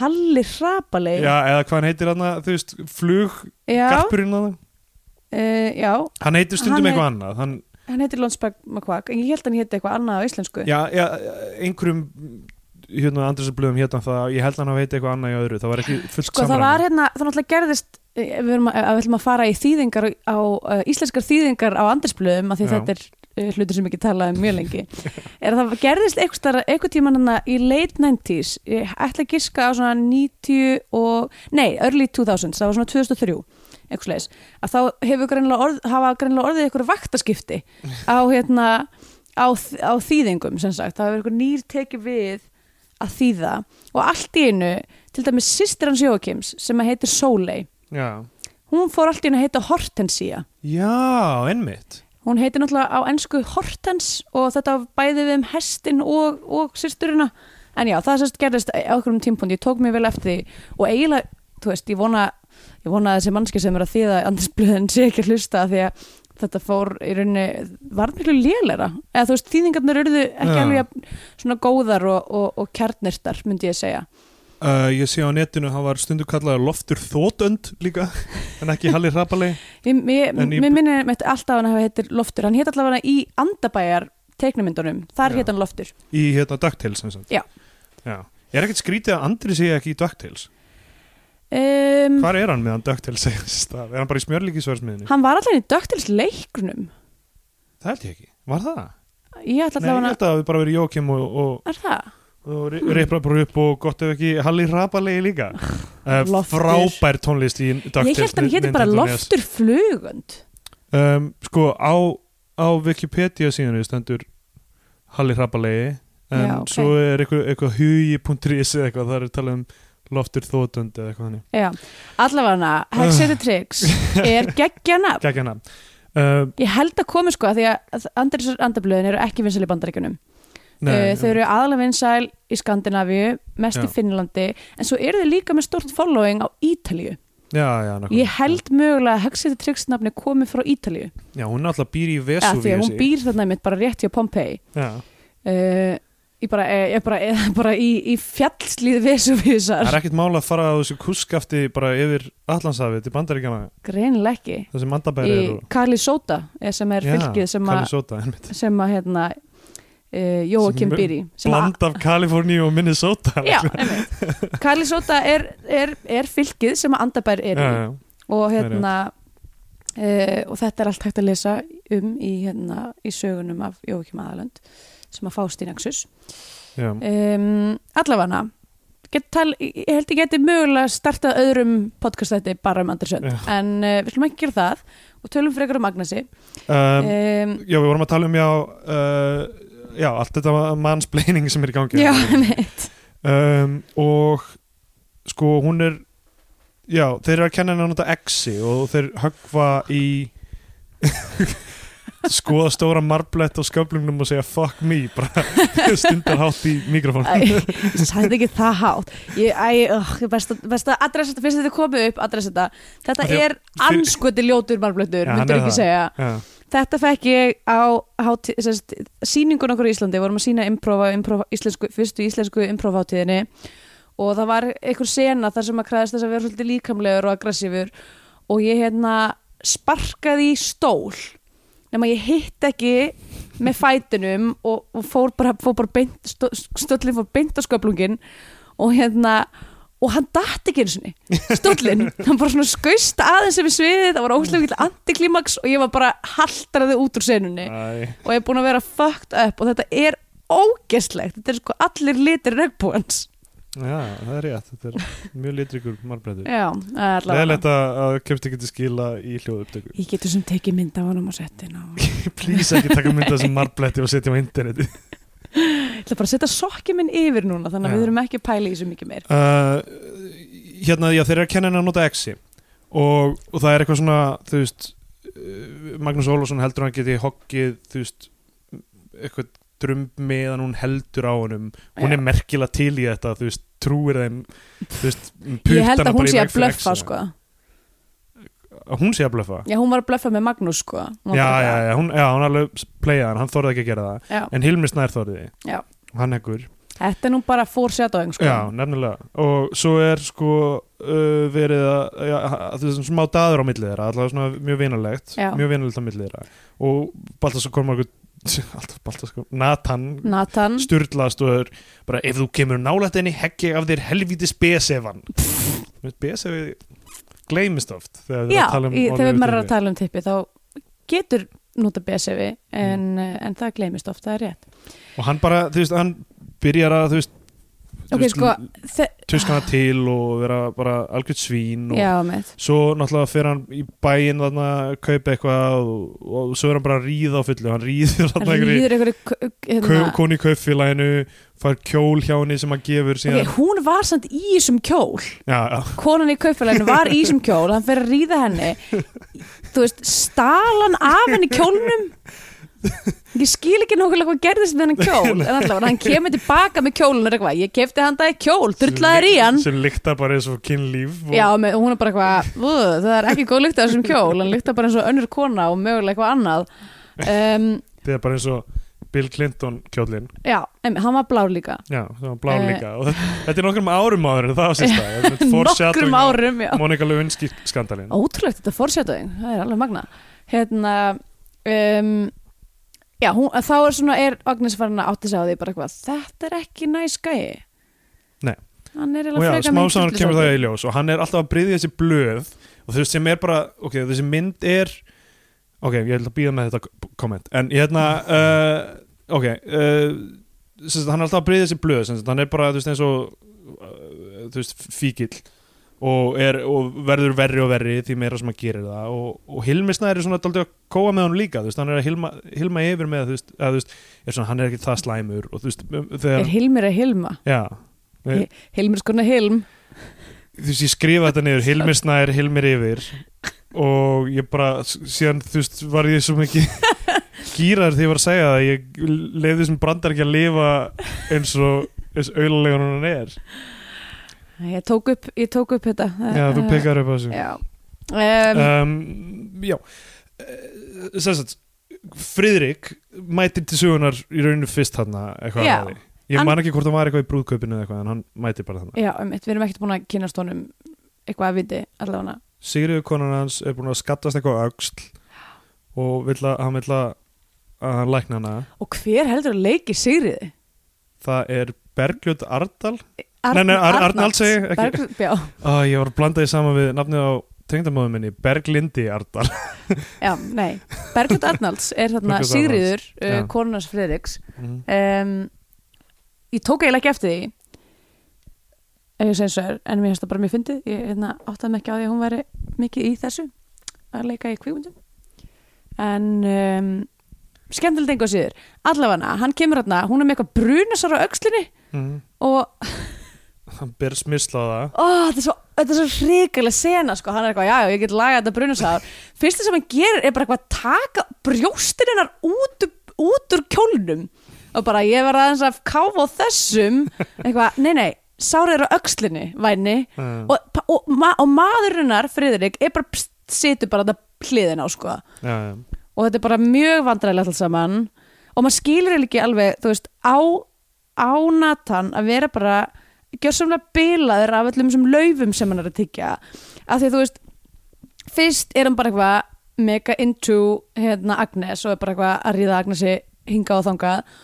B: Halli Hrapaleg
C: Já, eða hvað hann heitir hann þú veist, fluggarpurinn
B: já,
C: hann
B: eh, já
C: Hann heitir
B: Hann
C: stundum
B: er-
C: eitthvað annað hann,
B: hann heitir Lonsberg McQuack en ég held hann héti eitthvað annað á íslensku
C: Já, já, einhverjum hérna Andresa blöðum hérna það ég held að hann að veita eitthvað annað í öðru, það var ekki fullt
B: sko það var hérna, það náttúrulega gerðist eh, við erum að, að við ætlum að fara í þýðingar á, uh, íslenskar þýðingar á andarsblöðum af því
C: Já.
B: þetta er uh, hlutur sem ekki talað um mjög lengi er að það gerðist eitthvað, eitthvað tíman hana í late 90s ég ætla að giska á svona 90 og nei, early 2000, það var svona 2003 eitthvað slegis, að þá hefur greinilega orð, hafa greinilega orðið eitthvað vaktaskipti á hérna á, þ- á þýðingum sem sagt, það hefur eitthvað nýr tekið við að þýða og allt í einu, til dæmis sýstir hans Jóakims sem að heitir Sóley
C: Já,
B: hún fór allt í einu að heita Hortensia
C: já ennmitt
B: hún heitir náttúrulega á ensku Hortens og þetta á bæði við um hestin og, og sýsturina en já, það sérst gerðist á okkurum tímpundi ég tók mér vel eftir því og eiginlega, þú veist, ég vona ég vona að þessi mannski sem er að þýða andarsblöðin sé ekki að hlusta af því að þetta fór í rauninni, var miklu lélera eða þú veist, þýðingarnar urðu ekki
C: Já.
B: alveg jafn svona góðar og, og, og kjarnirtar, myndi ég segja
C: uh, Ég sé á netinu, hann var stundu kallaður Loftur Þótönd líka en ekki Halli Hrapalegi
B: Mér- Mér
C: En í-
B: mér minnir mitt alltaf að hann hafa heitir Loftur Hann hétt allavega í Andabæjar teiknumyndunum Þar
C: Já.
B: hétt hann Loftur
C: í hérna DuckTales sem sagt.
B: Já.
C: Já. Er ekkert skrítið að Andri sé ekki í DuckTales?
B: um,
C: Hvar er hann meðan DuckTales segist það? Er hann bara í smjörlíkisverðsmiðinu?
B: Hann var allavega í döktils leiknum
C: Það held ég ekki, var það?
B: Ég ætla
C: Nei, ég
B: allavega
C: held að það hafi bara verið Jókim og, og,
B: Er það?
C: og
B: Mm.
C: reypa bara upp og gott ef ekki Halli Hrapalegi líka uh,
B: Loftur.
C: frábær tónlist í DuckTales
B: Ég held hann hétt bara
C: Nintendo NES.
B: Loftur Flugund
C: um, sko á, á Wikipedia síðan stendur Halli Hrapalegi en
B: Já, ok.
C: svo er eitthvað, eitthvað hugi.is eða eitthvað það er talað um Loftur Þótund eða eitthvað þannig
B: Já, allavega Hexeter Tricks er geggjana
C: geggjana uh,
B: Ég held að komi sko að því að Andrisar Andablöðin eru ekki vinsæli bandaríkunum
C: nei,
B: Nei, Eh, þau eru aðalega vinsæl í Skandinavíu, mest
C: Já.
B: í Finnlandi en svo eru þau líka með stort following á Ítalíu
C: já, já, nákvæmlega.
B: Ég held mögulega að Hexeter Tricks nafni komið frá Ítalíu
C: já, hún náttúrulega býr í
B: af því að
C: Vesuvíu
B: hún býr þarna mitt bara rétt hjá Pompeii
C: já,
B: uh, ég bara, ég er bara, ég er bara í, í fjallslíð
C: Það
B: Vesuvísar
C: er ekkert mála að fara á þessu kuskafti bara yfir Allanshafið til bandaríkjana
B: greinileg ekki
C: þessi mandabæri
B: í
C: eru
B: Kalisóta sem er fylgið sem að
C: Kalisóta, einmitt
B: sem að hérna uh, Jóakim
C: Sem- sko.
B: Biri sem að
C: Bland af Kaliforníu og Minnesota
B: Já, einmitt. Kalisóta er, er, er fylgið sem að andabær er
C: já,
B: í
C: já.
B: og hérna uh, og þetta er allt hægt að lesa um í, hérna, í sögunum af Jóakim Aðalönd sem að fást í Nexus
C: Já.
B: um, Allafana tal, ég ég held ég geti mögulega startað öðrum podcastætti bara um Andersson
C: Já.
B: en uh, við slum ekki gera það og tölum frekar um Agnesi
C: Um,
B: um,
C: já, við vorum að tala um já, uh, já allt þetta mannsplaining sem er í gangi
B: Já, einmitt
C: um, og sko hún er já, þeir eru að kenna henni að nota exi og þeir höggva í skoða stóra marblett á sköflungnum og segja fuck me bara stundar hátt í mikrofón
B: Æ, ég sagði ekki það hátt ég, æ, ögh, ég best, að, best að adressa þetta fyrst þetta komið upp, adressa þetta þetta
C: Af því að-
B: er anskoti ljótur marblöndur,
C: Já, hann
B: myndur
C: er
B: ekki
C: það.
B: segja
C: já,
B: þetta fekk ég á háti, sest, síningun okkur í Íslandi, vorum að sína improva, improva, íslensku, fyrstu íslensku improv-háttíðinni og það var einhver sena þar sem að kræðist þess að vera svolítið líkamlegur og aggressífur og ég hérna sparkaði í stól nema ég hitt ekki með fætinum og, og fór bara, fór bara beint, stó, stóllin fór beint á sköplungin og hérna og hann datt ekki eins og stóllin hann bara svona skausta aðeins sem við sviðið það var óslega mikil antiklimaks og ég var bara haldraði út úr senunni
C: Æ,
B: og ég er búin að vera fucked up og þetta er ógeslegt þetta er sko allir litir regnbúans
C: já, það er rétt þetta er mjög litrikur marblettur
B: já, allavega
C: Leðilegt að, að kemst ekki til skila í hljóðupptöku
B: ég getur sem tekið mynd af honum á settin og
C: Please ekki taka mynda sem marbletti og setja á interneti
B: ég ætla bara að setja sokkið minn yfir núna þannig að við
C: Já.
B: þurfum ekki að pæla í þessu mikið meir
C: uh, Hérna, já, þeir eru að kenna henni að nota exi og, og það er eitthvað svona, þú veist uh, Magnús Ólafsson heldur að hann geti hoggið, þú veist eitthvað drömmiðan hún heldur á honum
B: Já.
C: hún er merkilega til í þetta, þú veist, trúir þeim þú veist,
B: ég held
C: puttana
B: að hún
C: bara í
B: sé
C: veg
B: að
C: fyrir
B: blöffa
C: exina.
B: sko
C: Að Hún sé að blöffa?
B: já, hún var að blöffa með Magnús sko Hún var
C: Já,
B: bara-
C: já, já, hún, já, hún alveg playaði hann, hann þorði ekki að gera það
B: Já.
C: en Hilmi Snær þorði
B: Já.
C: og hann ekkur
B: Þetta er nú bara foreshadowing sko.
C: Já, nefnilega og svo er sko uh, verið að, já, að þú veist, smá daður á milli þeirra, allavega svona mjög vinalegt
B: Já.
C: mjög vinalegt á milli þeirra og Baltasar Kormakur alltaf Baltasar, Nathan
B: Nathan
C: styrlaðast og er bara ef þú kemur nálætt henni heggi af þér helvítis besefan besefi gleymist oft þegar við
B: Já,
C: erum að tala um
B: í, þegar
C: orðið
B: maður er að
C: yfir
B: tala um tippi þá getur nota BSV
C: Mm.
B: en, eh, en það gleymist ofta, það er rétt
C: því. og hann bara, þú veist, hann byrjar að þú veist, þú
B: Ok,
C: veist,
B: sko, þe
C: tuskana til og vera bara algjörð svín og
B: já, með
C: svo náttúrulega fer hann í bæinn þarna að kaupa eitthvað og, og svo er hann bara að ríða á fullu hann ríður
B: hann
C: þarna einhverju
B: rýður einhverju k-
C: kau,
B: hérna,
C: koni í kaupfélaginu fær kjól hjá henni sem hann gefur
B: ok,
C: síðan
B: hún var samt í þessum kjól
C: já, já,
B: konan í kaupfélaginu var í þessum kjól hann fer að ríða henni þú veist, stalan af henni kjólnum ég skil ekki nákvæmlega hvað gerðist með hennan kjól en allavega, hann kemur tilbaka með kjólun og er eitthvað, ég kefti handaði kjól, drullaður í hann
C: sem lyktar bara eins og kynlíf og,
B: Já, með, hún er bara eitthvað, "Ugh, það er ekki góð lykta af þessum kjól, hann lykta bara eins og önnur kona og mögulega eitthvað annað. Um,
C: það er bara eins og Bill Clinton kjólin
B: já, em, hann var blár líka.
C: já, það var blá
B: Eh.
C: líka og þetta, þetta er nokkrum árum áður en það á sérsta
B: Nokkrum árum, já.
C: Monika Lewinsky skandalinn
B: Ótrúlegt þetta fórsetaðin, það er alveg magna. Hérna, um, já, hún, þá er svona, er Agnes farin að átti sig á því bara eitthvað, þetta er ekki næs gæi.
C: Nei.
B: Hann er
C: og já,
B: eiginlega
C: smá saman kemur það
B: í.
C: í ljós og hann er alltaf að bryðja þessi blöð og þú veist sem er bara, ok, þessi mynd er ok, ég ætla að býða með þetta komment, en ég hérna uh, ok uh, sem sagt, hann er alltaf að bryðja þessi blöð sem sagt, hann er bara, þú veist, eins og uh, þú veist, fíkil og, er, og verður verri og verri því meira sem að gera það og, og Hilmisna er svona daldið að kóa með honum líka þú veist, hann er að hilma, hilma yfir með þú veist, að, þú veist, er svona, hann er ekki það slæmur og þú veist, um,
B: Er
C: þegar,
B: Hilmir að Hilma?
C: já Nei.
B: Hilmir skona Hilm.
C: þú veist, ég skrifa þetta niður Hilmir Snær, Hilmir yfir og ég bara, síðan þú veist, var ég svo mikið gýrar þegar ég var að segja það ég leiði þessum brandar ekki að lifa eins og eins auðlega hann er
B: Ég tók upp, ég tók upp þetta. Eh,
C: Já, þú pekar upp á þessu
B: Já. Um,
C: um, Já Eh, sem sagt, Friðrik mætir til sögunar í rauninu fyrst þarna eitthvað
B: Já.
C: að því. Ég
B: Hann-
C: man ekki hvort það var eitthvað í brúðkaupinu eða eitthvað en hann mæti bara þannig.
B: Já, um við erum ekkert búin að kynast honum eitthvað að viti allavega
C: Sigriður konan hans er búin að skattast eitthvað á öxl og vill að, hann vill að, að hann lækna hana.
B: Og hver heldur að leiki Sigriði?
C: Það er Bergljót Ardal. Nei, nei, Ar- Arnalds segi ég,
B: Berg,
C: ekki.
B: já,
C: Ó, ég var að blanda því saman við nafnið á tengdamóðum minni, Berglindi Ardal.
B: já, nei Bergut Arnalds er þarna
C: Berglind
B: Sigriður uh,
C: já.
B: konunars Friðriks
C: Mm.
B: um, Ég tók eiginlega ekki eftir því ef ég segi svo er en mér finnst það bara mjög fyndið ég hérna, áttaði mig ekki á því að hún væri mikið í þessu að leika í kvíkmyndum en um, skemmtilegt engu að síður allavega hann kemur hérna, hún er með eitthvað brunasar á öxlinni
C: Mm.
B: og
C: Hann ber smisla á það.
B: ó, þetta er svo, þetta er svo hrikalega sena sko. hann er eitthvað, já, já, ég get lagað þetta brunasár fyrst sem hann gerir er bara eitthvað að taka brjóstin hennar út, um- út úr kjólnum og bara ég verð aðeins að káfa á þessum eitthvað, nei, nei, sárið er á öxlinni væni
C: Mm.
B: og, pa- og, ma og maðurinnar, Friðrik, er bara pst, situr bara þetta hliðin á sko
C: Já, já.
B: og þetta er bara mjög vandræðilegt alls saman og maður skilur eiginlega ekki alveg þú veist, á, á Nathan að vera bara gjörsamlega bilaður af öllum þessum laufum sem hann er að tyggja af því að þú veist fyrst er hann bara eitthvað mega into hérna Agnes og er bara eitthvað að ríða Agnesi hingað og þangað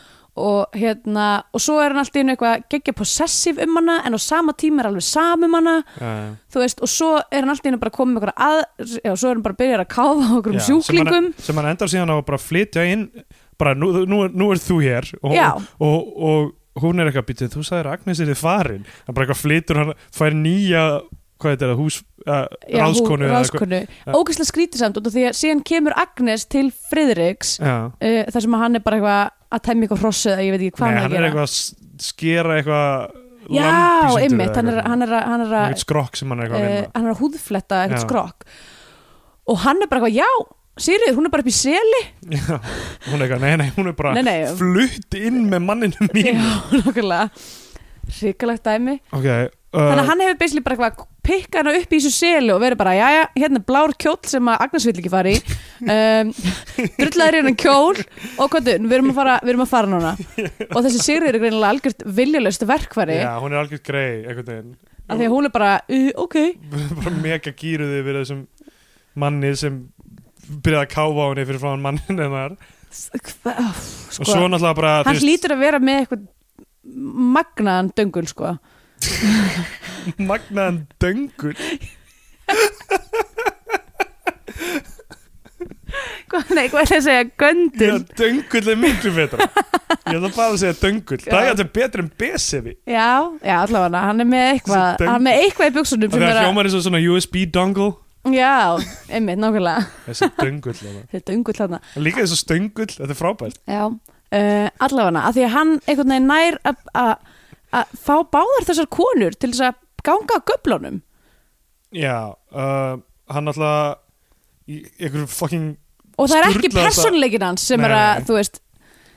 B: og hérna og svo er hann alltaf einu eitthvað geggja possessiv um hana en á sama tíma er alveg sam um hana
C: Já, já.
B: þú veist og svo er hann alltaf einu bara komið með eitthvað að, já svo er hann bara að byrja að káfa okkur um
C: Já,
B: sjúklingum
C: sem hann, sem hann endar síðan á að bara flytja inn bara nú, nú, er- nú er þú hér og,
B: Já.
C: og, og, hún er eitthvað býtið þú sagðir að Agnes er þið farin hann bara eitthvað flytur hann fær nýja hvað þetta er það, hús, uh,
B: Já, hún-
C: ráskonu eða eitthvað.
B: ráðskonu. ógeðslega skrítið samt út af því að síðan kemur Agnes til Friðriks
C: Já.
B: uh, þar sem að hann er bara eitthvað að tæmi eitthvað hrossið eða ég veit ekki hvað
C: Nei,
B: hann
C: hann
B: er að
C: er
B: gera
C: eitthvað að s- skera eitthvað
B: já, ymmit, hann er, hann er, að- hann er að
C: eitthvað skrokk sem hann er eitthvað að
B: uh,
C: vinna
B: hann er að húðfletta eitthvað
C: Já.
B: skrokk og hann er bara eitthvað, já, Sigriður, hún er bara upp í seli
C: Já, hún er eitthvað, nei, nei, hún er bara
B: Nei, nei.
C: flutt inn með manninu mín
B: já, nokkulega ríkalegt dæmi
C: ok,
B: þannig
C: uh,
B: að hann hefur beisli bara eitthvað pikka hana upp í þessu selu og verið bara, jæja, hérna er blár kjóll sem að Agnes vil ekki fara í um, drullaður hérna kjól og hvað við erum að fara, við erum að fara núna og þessi Sigriður er greinilega algjört viljalöst verkfæri,
C: já, hún er algjör grei einhvern veginn
B: af því að hún er bara uh, ok,
C: bara mega gýruði við þessum manni sem byrjaði að káfa á henni fyrir frá hann mannin hennar
B: S- hva- ó,
C: og svo
B: sko,
C: náttúrulega bara þú
B: hann hlýtur að vera með eitthvað magnaðan döngul sko
C: magnaðan döngur
B: Hvað- nei, hvað er það að segja, göndul
C: Já, döngull er miklu betra ég ætla bara að segja döngull
B: Já.
C: það er alltaf betur en besefi
B: já, já, allavega hann er með
C: Þessi
B: eitthvað
C: döngul.
B: hann er með eitthvað í buksunum
C: það
B: sem
C: er að
B: er að,
C: hljóma eins og svona USB dongle
B: já, einmitt, nákvæmlega
C: þessi döngull þarna.
B: þetta ungull hann
C: En líka þessu stöngull, þetta er frábært
B: Já, uh, allavega að því að hann einhvern veginn nær að- að að fá báðar þessar konur til þess að ganga að göblunum
C: já, uh, hann alltaf í einhverju fucking
B: og það er ekki
C: Sturlað það.
B: persónleikin hans sem
C: Nei,
B: er
C: nei.
B: að, þú veist,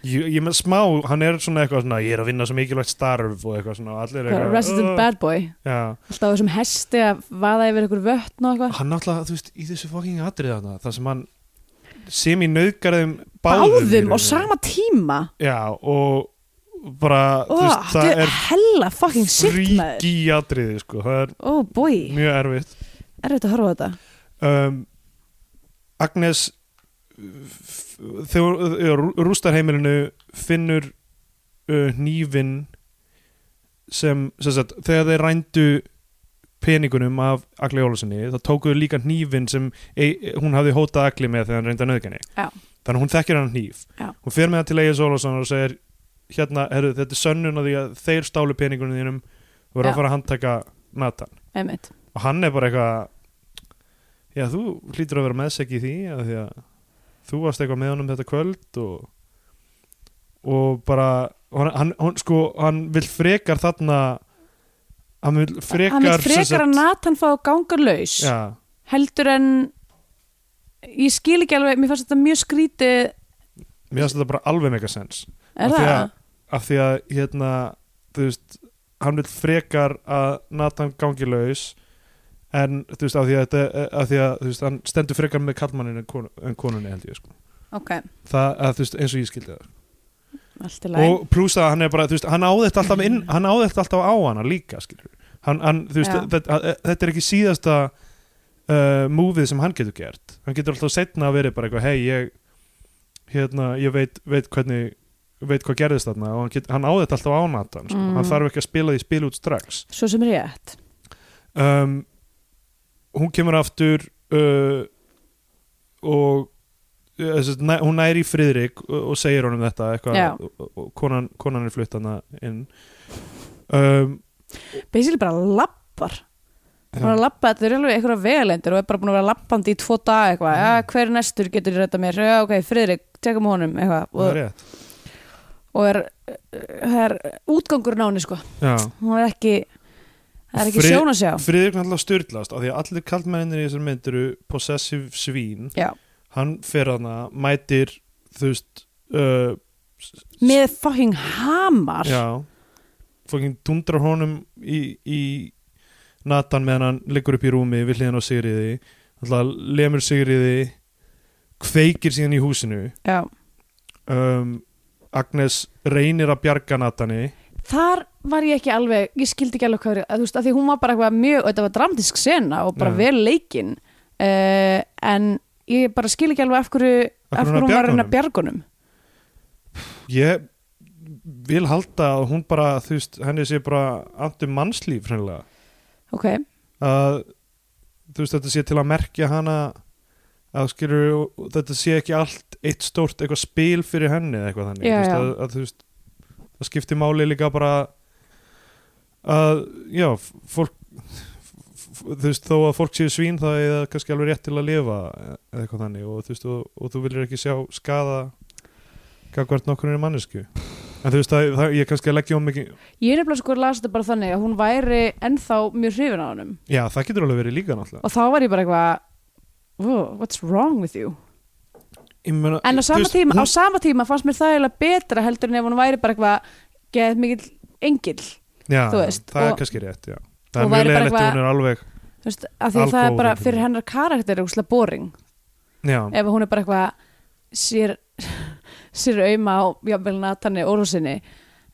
C: ég, ég með smá, hann er svona eitthvað svona, ég er að vinna svo mikilvægt starf og eitthvað svona, og allir eru eitthvað
B: resident
C: "Ugh."
B: bad boy
C: já,
B: alltaf á þessum hesti að vaða yfir einhver vötn og eitthvað
C: hann náttúrulega, þú veist, í þessu fucking atrið þarna, það sem hann sem í nöðgarðum báðum, í
B: báðum
C: rauninni.
B: á sama tíma
C: já, og bara,
B: Ó,
C: þú veist,
B: þetta
C: það
B: er
C: er
B: hella fucking sick maður
C: fríki í atriði, sko, það er
B: ó búi,
C: mjög erfitt
B: er þetta að horfa á þetta
C: um, Agnes f- þegar þegar rú- rústarheimilinu finnur uh, nýfin sem, sem sagt, þegar þeir rændu peningunum af Agli Ólusinni, þá tókuðu líka nýfin sem e, hún hafði hótað Agli með þegar hann reynda nöðgani
B: Já.
C: þannig að hún þekkir hann nýf
B: Já.
C: hún fer með það til Egil Ólusson og segir hérna, heru, þetta er sönnun að því að þeir stálu peningunum þínum og verður
B: Já.
C: að fara að handtaka Nathan
B: einmitt,
C: og hann er bara eitthvað já þú hlýtur að vera meðsæk í því af því að þú varst eitthvað með honum þetta kvöld og og bara og hann, hann, hann sko, hann vil frekar þarna hann vil frekar
B: hann vil
C: sem
B: frekar að
C: sagt-
B: Nathan fá að ganga laus
C: já,
B: heldur en ég skil ekki alveg, mér fannst þetta mjög skrítið
C: mér finnst þetta bara alveg mega sens
B: er
C: Af því
B: það?
C: að- af því að hérna þú veist, hann vil frekar að Nathan gangi laus en þú veist, af því að, þetta, af því að þú veist, hann stendur frekar með kallmannin en, konu, en konunni held ég sko
B: ok,
C: það, að, þú veist, eins og ég skildi það
B: allt í læg
C: og pluss að hann er bara, þú veist, hann á þetta alltaf inn, hann á þetta alltaf á hana líka skilur. hann, hann, þú veist,
B: Já.
C: þetta, þetta er ekki síðasta uh, múfið sem hann getur gert hann getur alltaf setna að vera bara eitthvað, hei, ég hérna, ég veit, veit hvernig veit hvað gerðist þarna og hann, get, hann á þetta alltaf á Nathan sko.
B: Mm.
C: hann þarf ekki að spila því spil út strax
B: svo sem rétt
C: um, hún kemur aftur uh, og uh, þess að næ- hún næri í Friðrik og, og segir honum þetta eitthvað
B: Já.
C: og, og- og konan, konan er flutt hana inn um,
B: basically bara lappar hún er að lappa, þetta er alveg eitthvað vegalendur og er bara búin að vera lappandi í tvo dag eitthvað, ja, hver er næstur getur ég rétta mér, já ok, Friðrik tekum honum eitthvað
C: það er
B: og,
C: rétt
B: og er, er útgangur náni sko,
C: Já.
B: hún er ekki það er ekki
C: Frið-
B: sjón að sjá
C: Friðrik náttúrulega styrlast af því að allir kaldmennir í þessar mynd eru possessive svín
B: já.
C: hann fer hana, mætir þú veist uh,
B: með fucking hamar
C: Já Fokkin dundrar honum í, í Natan meðan hann liggur upp í rúmi við hliðan á Sigriði Alltaf lemur Sigriði kveikir síðan í húsinu
B: Já.
C: um, Agnes reynir að bjarga Natani
B: þar var ég ekki alveg ég skildi ekki alveg hvað verið, að þú veist, að því hún var bara eitthvað mjög, þetta var dramatisk sena og bara
C: Já.
B: vel leikinn uh, en ég bara skil ekki alveg af hverju,
C: Af hverju
B: af hverju
C: hún er að
B: hún var að
C: bjarga
B: reyna
C: honum?
B: að bjargunum
C: Ég vil halda að hún bara þú veist, henni sé bara andur mannslíf hreinlega
B: ok,
C: að þú veist þetta sé til að merkja hana að skilur þetta sé ekki allt eitt stórt eitthvað spil fyrir henni eða eitthvað þannig
B: Já,
C: þú veist,
B: já.
C: Að, að þú veist það skipti máli líka bara að já f- fólk f- f- þú veist þó að fólk séu svín það er það kannski alveg rétt til að lifa e-, eða eitthvað þannig og þú veist og, og þú viljir ekki sjá skada gagvart nokkurinn mannesku en þú veist það, það ég er kannski að leggja um mikið
B: ég er nefnilega sko að lasa þetta bara þannig að hún væri ennþá mjög hrifin á honum
C: já það getur alveg verið líka náttúrulega
B: og þá var ég bara eitthvað "Whoa, what's wrong with you
C: Ég meina,
B: en á
C: þú
B: sama,
C: veist,
B: tíma, á
C: hún-
B: sama tíma fannst mér það eiginlega betra heldur en ef hún væri bara eitthvað geðið mikill engill
C: já,
B: þú veist,
C: það er
B: og-
C: kannski rétt já. það
B: og
C: er mjög
B: væri bara
C: leiðilegt að
B: eitthvað-
C: hún er alveg
B: Þú veist, af því að það er
C: Algóð
B: bara
C: einhvern
B: fyrir
C: veginn.
B: hennar karakter er úrslega boring
C: já,
B: ef hún er bara eitthvað sér, sér auðma á jafnvel Natani Órósinni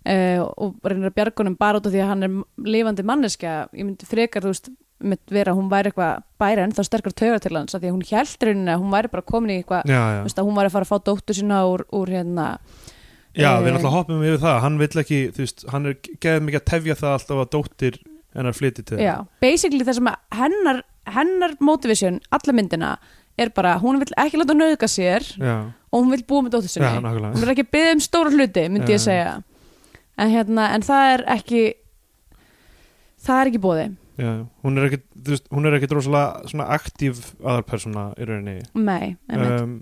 B: uh, og reynir að bjargunum bara út af því að hann er lifandi manneskja ég myndi frekar þú veist með vera að hún væri eitthvað bæri ennþá sterkar tauga til hans af því að hún hjælt rauninni að hún væri bara komin í eitthvað
C: já, já.
B: þú veist, að hún væri að fara að fá dóttur sína úr, úr hérna
C: já við
B: eh,
C: náttúrulega hoppum yfir það hann vill ekki, þú veist, hann er geðið mikið að tefja það alltaf að dóttir hennar flytti til
B: já, basically það sem að hennar, hennar motivation, alla myndina er bara, hún vil ekki láta nauðga sér
C: já,
B: og hún vil búa með dóttur
C: já,
B: sinni
C: nákvæmlega
B: hún er ekki að byggja um stóra hluti myndi ég
C: Já.
B: segja en, hérna, en það er ekki það er ekki bóði
C: já, hún er ekki, þú veist, hún er ekki rosalega svona aktív aðalpersona í rauninni
B: nei, einmitt
C: um,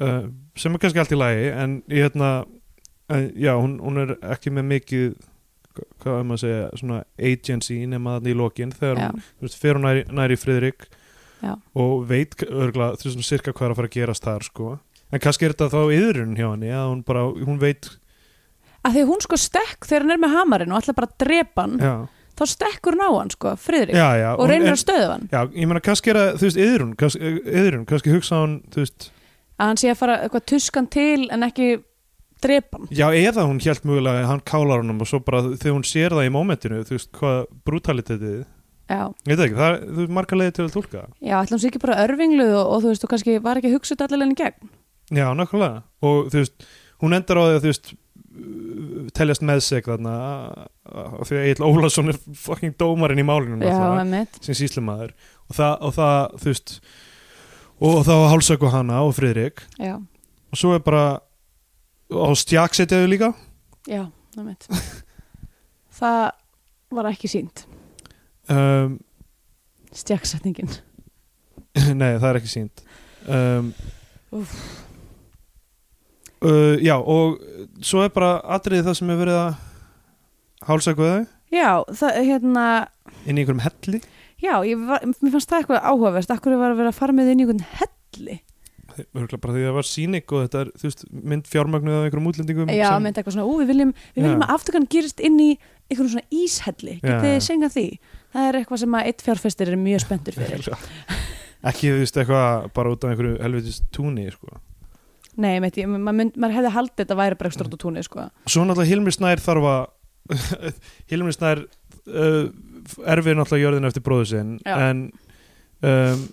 C: uh, sem er kannski allt í lagi en ég hérna uh, já, hún, hún er ekki með mikið hva- hvað er maður að segja, svona agency nema þannig í lokin þegar
B: Já.
C: hún þú veist, fer hún næri, næri Friðrik
B: Já.
C: og veit örgla, þú veist, svona sirka hvað er að fara að gerast þar sko. en kannski er þetta þá yðrun hjá henni að hún bara, hún veit
B: að því hún sko stekk þegar hann er með hamarinn og ætla bara að drepa hann
C: já,
B: þá stekkur hann á hann sko, Friðrik
C: já, já,
B: Mm. og reynir
C: en,
B: að stöða hann
C: já, ég meina kannski er það, þú veist, yðrun kannski, yðrun, kannski hugsa hún, þú veist
B: að hann sé að fara eitthvað tuskan til en ekki drepa hann
C: Já, eða hún hjælt mögulega að hann kálar honum og svo bara þegar hún sér það í mómentinu þú veist hvað brutalitetið
B: já,
C: ég veit það ekki, það er þú veist, margar leiði til að tólka það.
B: já ætla hann sé ekki bara örvingluð og, og þú veist, þú kannski var ekki að hugsa þetta allavega í gegn
C: Já, nákvæmlega og þú veist, hún endar á því að þú veist teljast með seg þarna af því að Egil Ólason er fucking dómarinn í málinu
B: já,
C: náttúrulega,
B: einmitt,
C: sem síslumæður og það, og það, þú veist og þá hálsöku hana og Friðrik
B: já,
C: og svo er bara á stjaksetjaðu líka
B: já, einmitt það var ekki sínt
C: um,
B: stjakksetningin
C: Nei, það er ekki sínt um,
B: Úff.
C: uh, Já, og svo er bara atriðið það sem er verið að hálsæku þau
B: Já, það, hérna,
C: inn í einhverjum helli
B: já, ég var, mér fannst það eitthvað áhugavert, akkur var að vera að fara með inn í einhvern helli.
C: Örgulega bara því að það var sínik og þetta er þú veist, mynd fjármagnuð af einhverjum útlendingum
B: Já,
C: Um sem,
B: með eitthvað svona, ú, við viljum, við
C: Já.
B: viljum að aftökan gerist inn í einhvern svona íshelli,
C: Já,
B: getið
C: já.
B: þið senga því? Það er eitthvað sem að eitt fjárfestir er mjög spenntur fyrir.
C: Ekki þú veist eitthvað bara út af einhverju helvitis túni sko.
B: Nei, meit, ég, maður, mynd, maður hefði haldið þetta væri bara stort og túnið sko.
C: Svo náttúrulega Hilmi Snær þarf að Hilmi Snær uh, erfið náttúrulega jörðin eftir bróðu sinn
B: Já.
C: en um,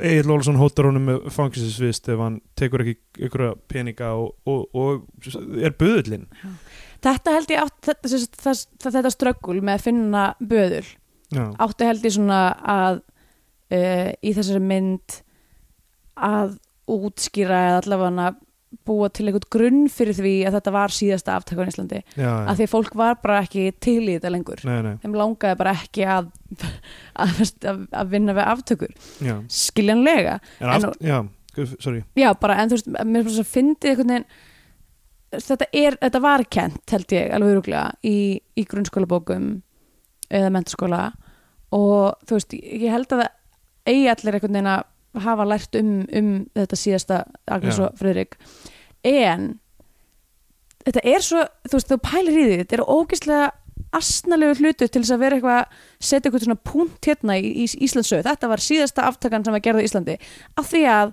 C: Egil Olsson hóttar honum með fangisinsvist ef hann tekur ekki ykkur peninga og, og, og er buðullinn
B: Þetta held ég átt, þetta, sem sagt, það, það, þetta ströggul með að finna böðul
C: Já,
B: átti held ég svona að uh, í þessari mynd að útskýra eða allavega búa til einhvern grunn fyrir því að þetta var síðasta aftakan í Íslandi
C: já,
B: að því að fólk var bara ekki til í þetta lengur
C: nei, nei,
B: þeim langaði bara ekki að að, að, að vinna við aftökur
C: já
B: skiljanlega
C: En
B: En
C: aft, já, sorry
B: já bara en þú veist mér finnst að fyndið einhvern veginn þetta, er, þetta var kent held ég alveg öruglega í, í grunnskóla eða mentaskóla og þú veist ég held að það eigi allir einhvern veginn að hafa lært um, um þetta síðasta Agnes
C: Já.
B: og Friðrik en þetta er svo þú veist þú pælir í því þetta eru ógeðslega asnalegu hlutu til þess að vera eitthvað setja eitthvað svona punkt hérna í, í Íslandsöð þetta var síðasta aftakan sem var gerð á Íslandi af því að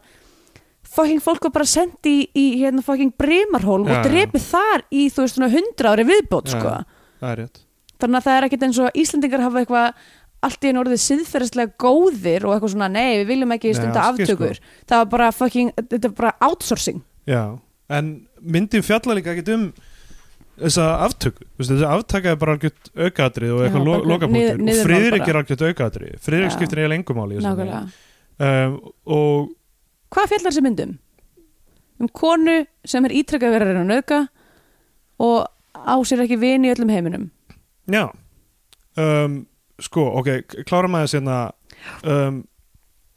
B: fucking fólk var bara sendt í, í hérna fucking bremarhólm
C: Já,
B: og
C: já.
B: drepið þar í þú veist svona hundra ári viðbót
C: Já.
B: sko
C: Það er rétt
B: þannig að það er ekkert eins og að Íslendingar hafa eitthvað allt í einu orðið siðferðislega góðir og eitthvað svona, nei, við viljum ekki
C: Nei,
B: stunda
C: alls ekki, sko."
B: aftökur það var bara fucking, þetta var bara outsourcing
C: Já, en myndin fjalla líka ekkert um þessa aftöku Vistu, þessa aftaka er bara algjört aukaðatrið og
B: Já,
C: eitthvað lo
B: bara
C: lokapunktur
B: niður- niðurmál
C: og Friðrik
B: bara.
C: er algjört aukaðatrið Friðrik
B: Já.
C: skiptir eiginlega engum máli í þessu
B: nákvæmlega,
C: um, og
B: hvað fjallar þessi myndum? um konu sem er ítrekkað verið að reyna að nauðka og á sér ekki vini í öllum heiminum
C: já um, sko, ok, k- klárum aðeins hérna um,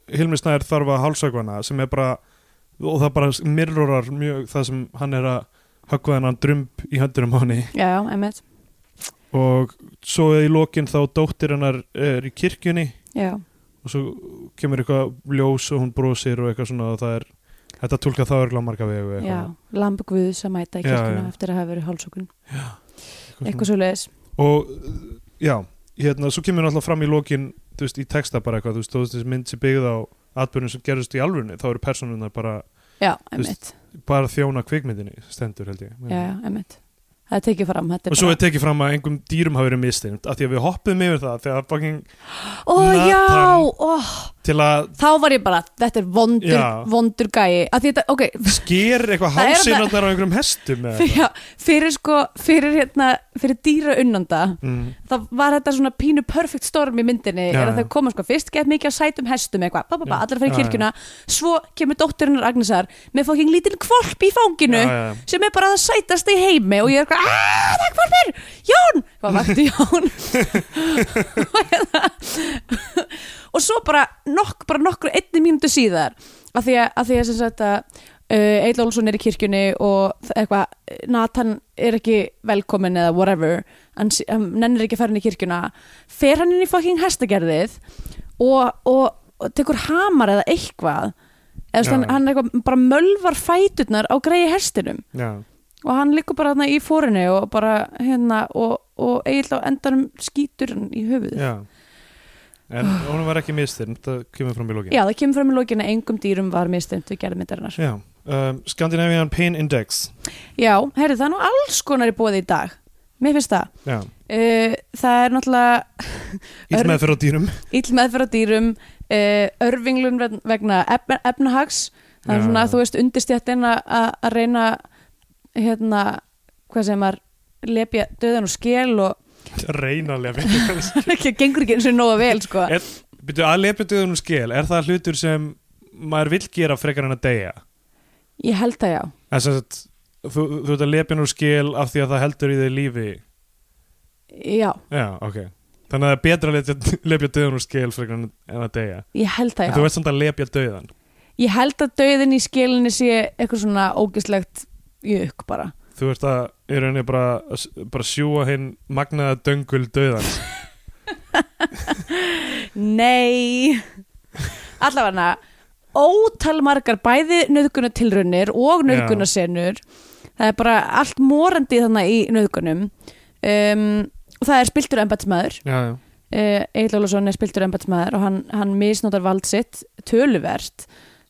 C: Hilmi Snær þarf að hálsökvana sem er bara og það bara mirrorar mjög það sem hann er að höggva hennan drump í höndunum á henni
B: já, já, emmitt,
C: og svo í lokin þá dóttir hennar er í kirkjunni
B: já,
C: og svo kemur eitthvað ljós og hún brosir og eitthvað svona og það er þetta tólka það örgla marga vegu
B: já
C: eitthvað,
B: lamb guðs að mæta í
C: Já,
B: kirkuna
C: já.
B: eftir að hafa verið hálsókun
C: eitthvað
B: eitthvað svo leiðis,
C: og uh, já, hérna, svo kemur alltaf fram í lokin þú veist, í texta bara eitthvað þú veist, þú veist, þessi mynd sem byggð á atbyrjun sem gerist í alvörunni, þá eru personunar bara
B: já,
C: veist,
B: emmitt
C: bara þjóna kvikmyndinni, stendur held ég
B: já, já, emmitt, það er tekið fram þetta
C: og
B: er
C: svo
B: bara-
C: er tekið fram að einhverjum dýrum hafi verið mistind, af því að við hoppum yfir það þegar fucking,
B: ó, já,
C: Nathan-
B: ó
C: til að
B: þá var ég bara, þetta er vondur,
C: Já.
B: vondur gæi að þetta, ok,
C: sker
B: Það
C: eitthvað
B: er
C: hálsinarnar á einhverjum hestum eða eitthvað.
B: já, fyrir sko fyrir hérna, fyrir dýra unnanda
C: mm,
B: þá var þetta svona pínu perfect storm í myndinni
C: Já,
B: er að
C: já.
B: þau koma sko fyrst gett mikið að sætum hestum eitthvað, ba, ba, ba,
C: Já.
B: allar fyrir
C: Já, já.
B: kirkjuna svo kemur dóttirinnar Agnesar með fóking lítinn kvolp í fanginu
C: já, já,
B: sem er bara að sætast í heimi og ég er eitthvað, aaaah, það er kvolpir Jón, hvað vakti Jón og svo bara, nokk, bara nokkur einni mínútu síðar af því að, að, því að sem sagt að uh, Eil Olsson er í kirkjunni og þ- eitthvað, eh, Nathan er ekki velkomin eða whatever hann, s- hann nennir ekki að fara inn í kirkjuna fer hann inn í fucking hestagerðið og, og, og tekur hamar eða eitthvað eða þú veist,
C: Já.
B: hann, hann eitthvað bara mölvar fæturnar á greiði hestinum
C: já,
B: og hann liggur bara þarna í fórinu og bara hérna og, og eiginlega á endanum skýtur hann í höfuðið.
C: já en hún var ekki mistind, það kemur fram í lokin
B: Ah. Já, það kemur fram í lókinu engum dýrum var mistemt við gerðum myndarinnar.
C: Já, um, Scandinavian Pain Index
B: Já, herri, það er nú alls konar í bóði í dag. Mér finnst það.
C: Já,
B: Uh, það er náttúrulega
C: íll
B: Örn-
C: með fyrir á dýrum
B: ill meðferð á dýrum, uh, örvinglun vegna- vegna ef, efnahags. Það er
C: Já,
B: svona,
C: já.
B: þú veist, undirstjættin að að reyna, hérna, hvað sem er, lepja döðan og skel og
C: Reynarlega fyrir
B: ekki, gengur ekki eins og nóga vel, sko.
C: Byrju, að lepitöðunum skil, er það hlutur sem maður vill gera frekar en að deyja?
B: Ég held það já.
C: En sem sagt, þú, þú veit að lepinu skil af því að það heldur í þig lífi
B: Já,
C: Já, ok Þannig að það er betra að lepja, lepja döðunum skil frekar en en að deyja
B: ég held
C: En
B: það
C: þú
B: já.
C: veist samt að lepja döðan
B: Ég held að dauðin í skilinni sé eitthvað svona ógislegt jökk bara.
C: Þú veist að í rauninni bara, að s- bara sjúa hinn magnaða döngul döðan
B: Nei! Allavega, ótal margar bæði nöðgunatilrunir og nöðgunasenur. Það er bara allt morandi þannig í nöðgunum. Um, og það er spiltur embatsmaður.
C: Já, já,
B: Uh, Egil Ólafsson er spiltur embatsmaður og hann, hann misnotar vald sitt töluvert.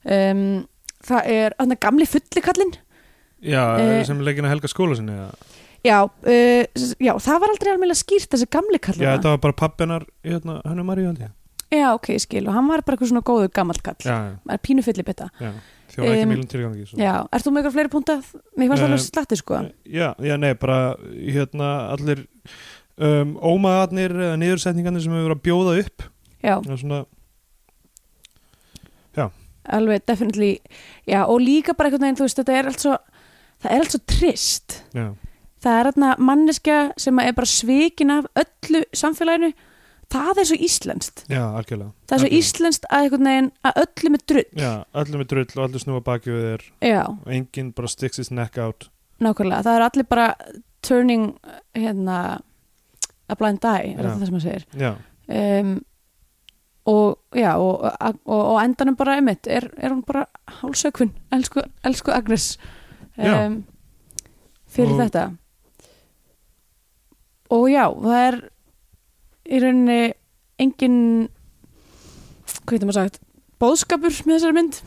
B: Um, það er annar gamli fullikallinn
C: Já,
B: Eh,
C: sem leikin að helga skóla sinni eða?
B: já, uh, já, það var aldrei alveg skýrt þessi gamli kallinn
C: Já, þetta var bara pappinar hérna, Hönnu Maríu held ég
B: já, ok, ég skil, og hann var bara eitthvað svona góður gamall kall
C: Já, já,
B: er pínu fyllibita
C: já Þjóða ekki
B: Em,
C: mýlum tilgangi svo.
B: já, ert þú með ykkur fleiri púnta? mér fannst það
C: Eh,
B: alveg slatti sko
C: já, já, nei, bara hérna allir um, ómaðarnir eða niðursetningarnir sem hefur verið að bjóða upp
B: já,
C: Það er svona,
B: alveg definitely já, og líka bara einhvern veginn, þú veist, þetta er allt svo það er allt svo trist
C: já,
B: það er þarna manneskja sem er bara svikin af öllu samfélaginu það er svo íslenskt
C: já, algjörlega
B: það er svo
C: Algjörlega.
B: íslenskt að einhvern veginn að öllu með drull
C: Já, allir með drull og allir snúa baki við þér
B: já,
C: og enginn bara sticks his neck out
B: nákvæmlega, það er allir bara turning hérna a blind eye, er
C: Já.
B: þetta það sem maður segir
C: Já,
B: um, og já og, og, og endanum bara emitt er, er hún bara hálsökvun elsku, elsku Agnes
C: Já.
B: um, fyrir
C: Og-
B: þetta og já, það er í rauninni engin hvað getur maður sagt bóðskapur með þessari mynd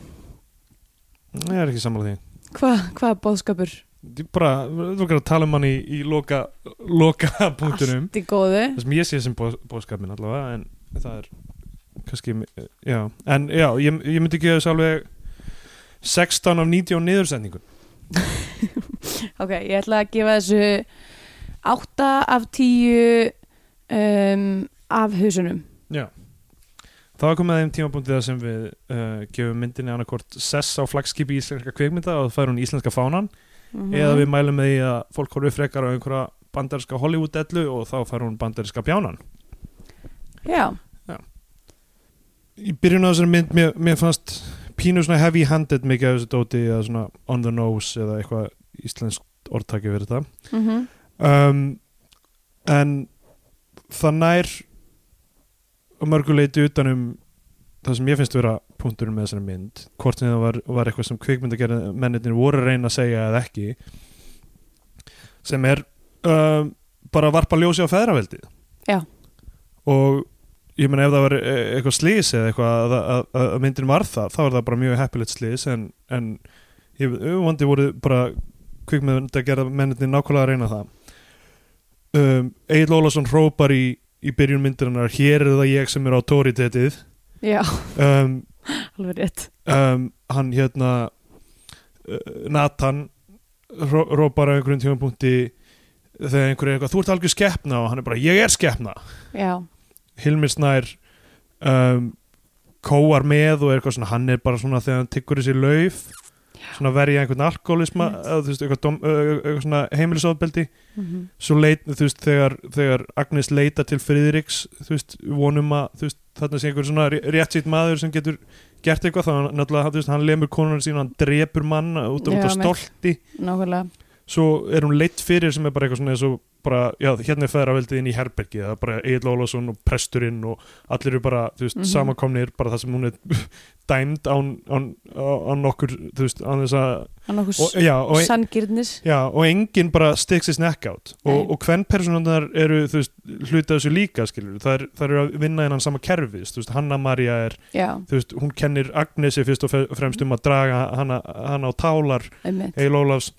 C: ég er ekki sammála því
B: Hva, hvað er bóðskapur?
C: Ég bara, þú verður að tala um hann í, í loka, loka punktunum
B: Allt í góðu
C: það sem ég sé sem bó, bóðskapin allavega en það er kannski, eh, já, en já ég, ég myndi gefa þessu alveg 16 af 90 á niðursendingun
B: Ok, ég ætla að gefa þessu 8 af 10 um, af husunum
C: já þá er komið að þeim tímapunkti það sem við uh, gefum myndinni annarkvort sess á flagskipi íslenska kveikmynda og það fær hún íslenska fánan eða við mælum með því að fólk horfið frekar á einhverja bandarska Hollywood-ellu og þá fær hún bandarska bjánan
B: Já,
C: í byrjun á þessari mynd mér, mér fannst pínu svona heavy handed mikið af þessu dóti eða svona on the nose eða eitthvað íslensk orðtaki fyrir þetta
B: mm
C: um, en það nær að mörgu leiti utanum það sem ég finnst vera punkturinn með þessari mynd hvort sem það var, var eitthvað sem kvikmyndagerð menninir voru að reyna að segja eða ekki sem er um, bara að varpa ljósi á feðraveldið
B: Já.
C: og ég meina ef það var e- eitthvað slís eða eitthvað að, að, að að myndin var það þá var það bara mjög heppilegt slís en, en ég vandi voru bara kvikmyndagerð menninir nákvæmlega að reyna það um, Egil Ólafsson hrópar í, í byrjun myndirinnar hér er það ég sem er á tóritetið
B: já,
C: um,
B: alveg rétt
C: um, hann hérna uh, Nathan hró, hrópar á einhverjum tímapunkti þegar einhverju er eitthvað, þú ert algjör skeppna og hann er bara, ég er skeppna
B: Já,
C: Hilmir Snær um, kóar með og er eitthvað svona, hann er bara svona þegar hann tyggur þessi lauf svona verja einhvern alkoholisma
B: Einmitt.
C: eða þú veist, eitthvað, dom, eh, eitthvað svona heimilisofbeldi
B: mm
C: svo leit, þú veist, þegar, þegar Agnes leita til Friðriks, þú veist, vonum að, þú veist, þarna sé einhver svona ré- réttsýtt maður sem getur gert eitthvað þá hann náttúrulega, þú veist, hann lemur konunar sín hann drepur mann út af, út af
B: Já, mitt.
C: stolti
B: nákvæmlega
C: svo er hún leitt fyrir sem er bara eitthvað svona eins og bara, já, hérna er feðraveldið inn í herbergi það er bara Egil Ólafsson og presturinn og allir eru bara, þú veist,
B: Mhm.
C: samankomnir bara það sem hún er dæmd án, án, án nokkur, þú veist, án þess að
B: Hann okkur
C: og, já, og,
B: sanngirnis
C: Já, og enginn bara sticks his neck out og,
B: Nei.
C: og hvern personunar eru þú veist, hluta þessu líka, skilur það, er, það eru að vinna innan sama kerfi þú veist, Hanna María er,
B: Já,
C: þú veist, hún kennir Agnesi fyrst og fe- fremst um að draga hana, hana á tálar,
B: einmitt
C: Eil Ólafs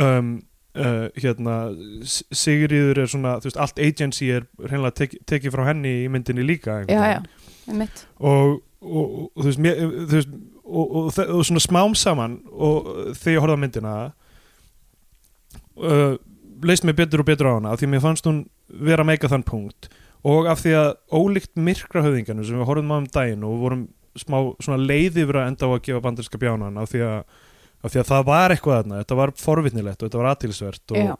C: um, uh, hérna S- Sigríður er svona, þú veist, allt agency er hreinlega tek, tekið frá henni í myndinni líka einhvern
B: Já,
C: veginn
B: já, einmitt
C: og, og, og þú veist, mér, þú veist og, og, og, og svona smám saman og þegar ég horfði á myndina uh, leist mér betur og betur á hana af því mér fannst hún vera að meika þann punkt og af því að ólíkt myrkra höfðingarnu sem við horfðum á um daginn og vorum smá svona leið yfir að enda á að gefa bandarinska bjánan af því að, af því að það var eitthvað þarna, þetta var forvitnilegt og þetta var aðtilsvert og
B: Já,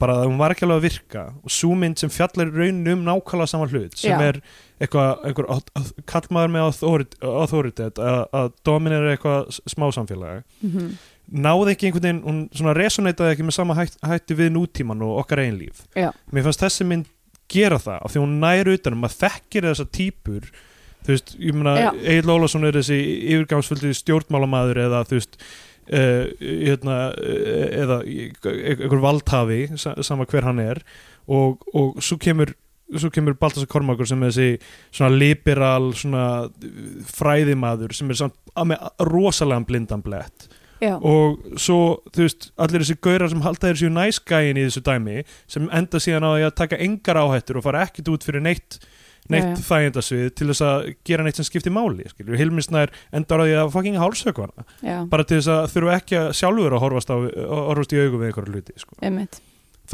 C: bara að hún var ekki alveg að virka og sú mynd sem fjallar í rauninu um nákvæmlega sama hlut sem
B: Já.
C: er eitthvað einhver auth- auth- kallmaður með authority- authority að, að dominera eitthvað s- smá samfélagi
B: mm
C: náði ekki einhvern veginn, hún svona resoneitaði ekki með sama hætt, hætti við nútíman og okkar einn líf
B: Já.
C: mér fannst þessi mynd gera það af því hún næri utanum, maður þekkir þessa típur þú veist, ég
B: Já.
C: meina Egil Ólafsson er þessi yfirgangsfullu stjórnmálamaður eða þú veist uh, hérna, uh, eða einhver valdhafi sa- sama hver hann er og, og svo kemur svo kemur Baltasar Kormákur sem er þessi svona liberal svona uh, fræðimaður sem er samt að með rosalega blindan blett
B: já,
C: og svo, þú veist, allir þessi gaurar sem halda þeir séu næskæin í þessu dæmi sem enda síðan á því að taka engar áhættur og fara ekkit út fyrir neitt neitt
B: Já, já.
C: þægjendasvið til þess að gera neitt sem skiptir máli, skilju, Hilmisnær endar á því að fucking hálsökvana
B: já,
C: bara til þess að þurfa ekki að sjálfur að horfast, á, horfast í augum við einhverju hluti sko.
B: einmitt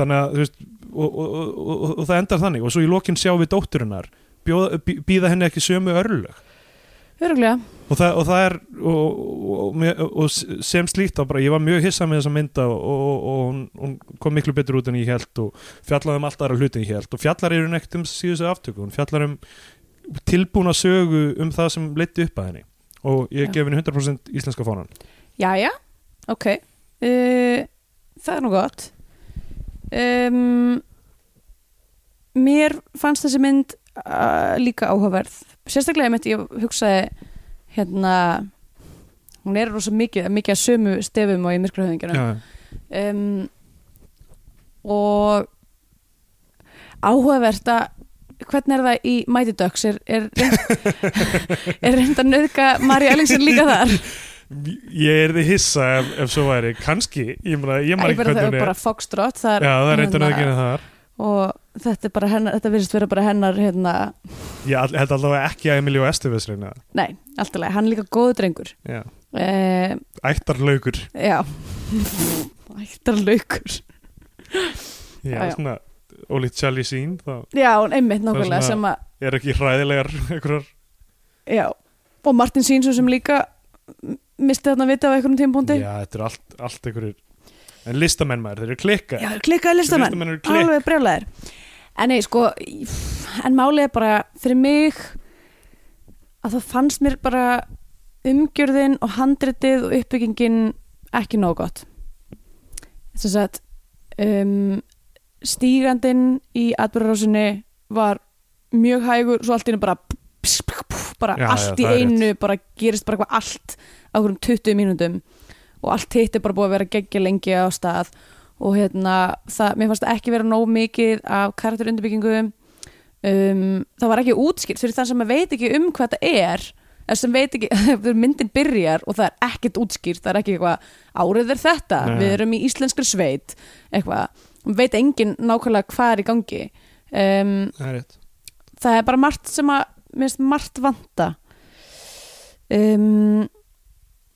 C: þannig að, þú veist og, og, og, og, og það endar þannig og svo í lokin sjá við dótturinnar bjóða- bí- býða henni ekki sömu örlög
B: Höruglega,
C: og það, og það er og, og, og, mér- og sem slíkt þá bara, ég var mjög hissað með þessa mynda og, og, og hún, hún kom miklu betur út en ég held og fjallaði um allt aðra hluti en ég held og fjallar eru neitt um síðustu aftöku hún fjallar um tilbúna sögu um það sem leiti upp að henni og ég
B: Já.
C: gef henni 100% íslenska fónan
B: jæja, ok uh, Það er nú gott um, Mér fannst þessi mynd uh, líka áhugaverð Sérstaklega einmitt, ég hugsaði hérna hún er rosa mikið, mikið að sömu stefum og í myrkrahöðingjana um, og áhugavert að hvernig er það í Mighty Ducks er, er, er reynd að nöðka Mari Ellingsen líka þar
C: ég er þið hissa ef, ef svo væri kannski, ég meina, ég maður
B: Æ,
C: ekki
B: bara, það
C: hvernig
B: er
C: hún er
B: bara Foxtrot það er, hérna,
C: já, það er reyndar að gera þar
B: og þetta er bara hennar þetta virðist vera bara hennar hérna,
C: ég all- held allavega ekki að Emilio Estevez reyna það.
B: nei, allt í lagi, hann er líka góðu drengur
C: Já.
B: eh,
C: ættarlaukur
B: já ættar laukur
C: Já,
B: Já, já.
C: svona ólíkt Charlie Sheen þá
B: já, einmitt nákvæmlega
C: svona-
B: sem að
C: er ekki hræðilegar einhverjar
B: Já, og Martin Sýnsson sem líka m- misti þarna vita á einhverjum tímpúndi
C: Já, þetta er allt, allt einhverjir en listamenn maður, þeir eru klikka
B: Já, klikkaði listamenn,
C: listamenn eru klikk
B: alveg brjálæðir En nei, sko, í- en málið er bara fyrir mig að það fannst mér bara umgjörðin og handritið og uppbyggingin ekki nóg gott Þess að um, stígandinn í atbyrðarásinni var mjög hægur, svo allt í einu bara bara
C: Já, já,
B: allt
C: það
B: í
C: er rétt.
B: einu bara gerist bara eitthvað allt á hverjum 20 mínútum og allt hitt er bara búið að vera geggja lengi á stað og hérna, það, mér fannst það ekki vera nóg mikið af karakterundurbyggingu um, það var ekki útskilt fyrir þann sem veit ekki um hvað það er eða sem veit ekki, þegar myndin byrjar og það er ekkert útskýrt, það er ekki eitthvað árið er þetta,
C: Nei.
B: við erum í íslenskri sveit eitthvað, veit engin nákvæmlega hvað er í gangi um,
C: Það er rétt
B: það er bara margt sem að mér finnst margt vanta um,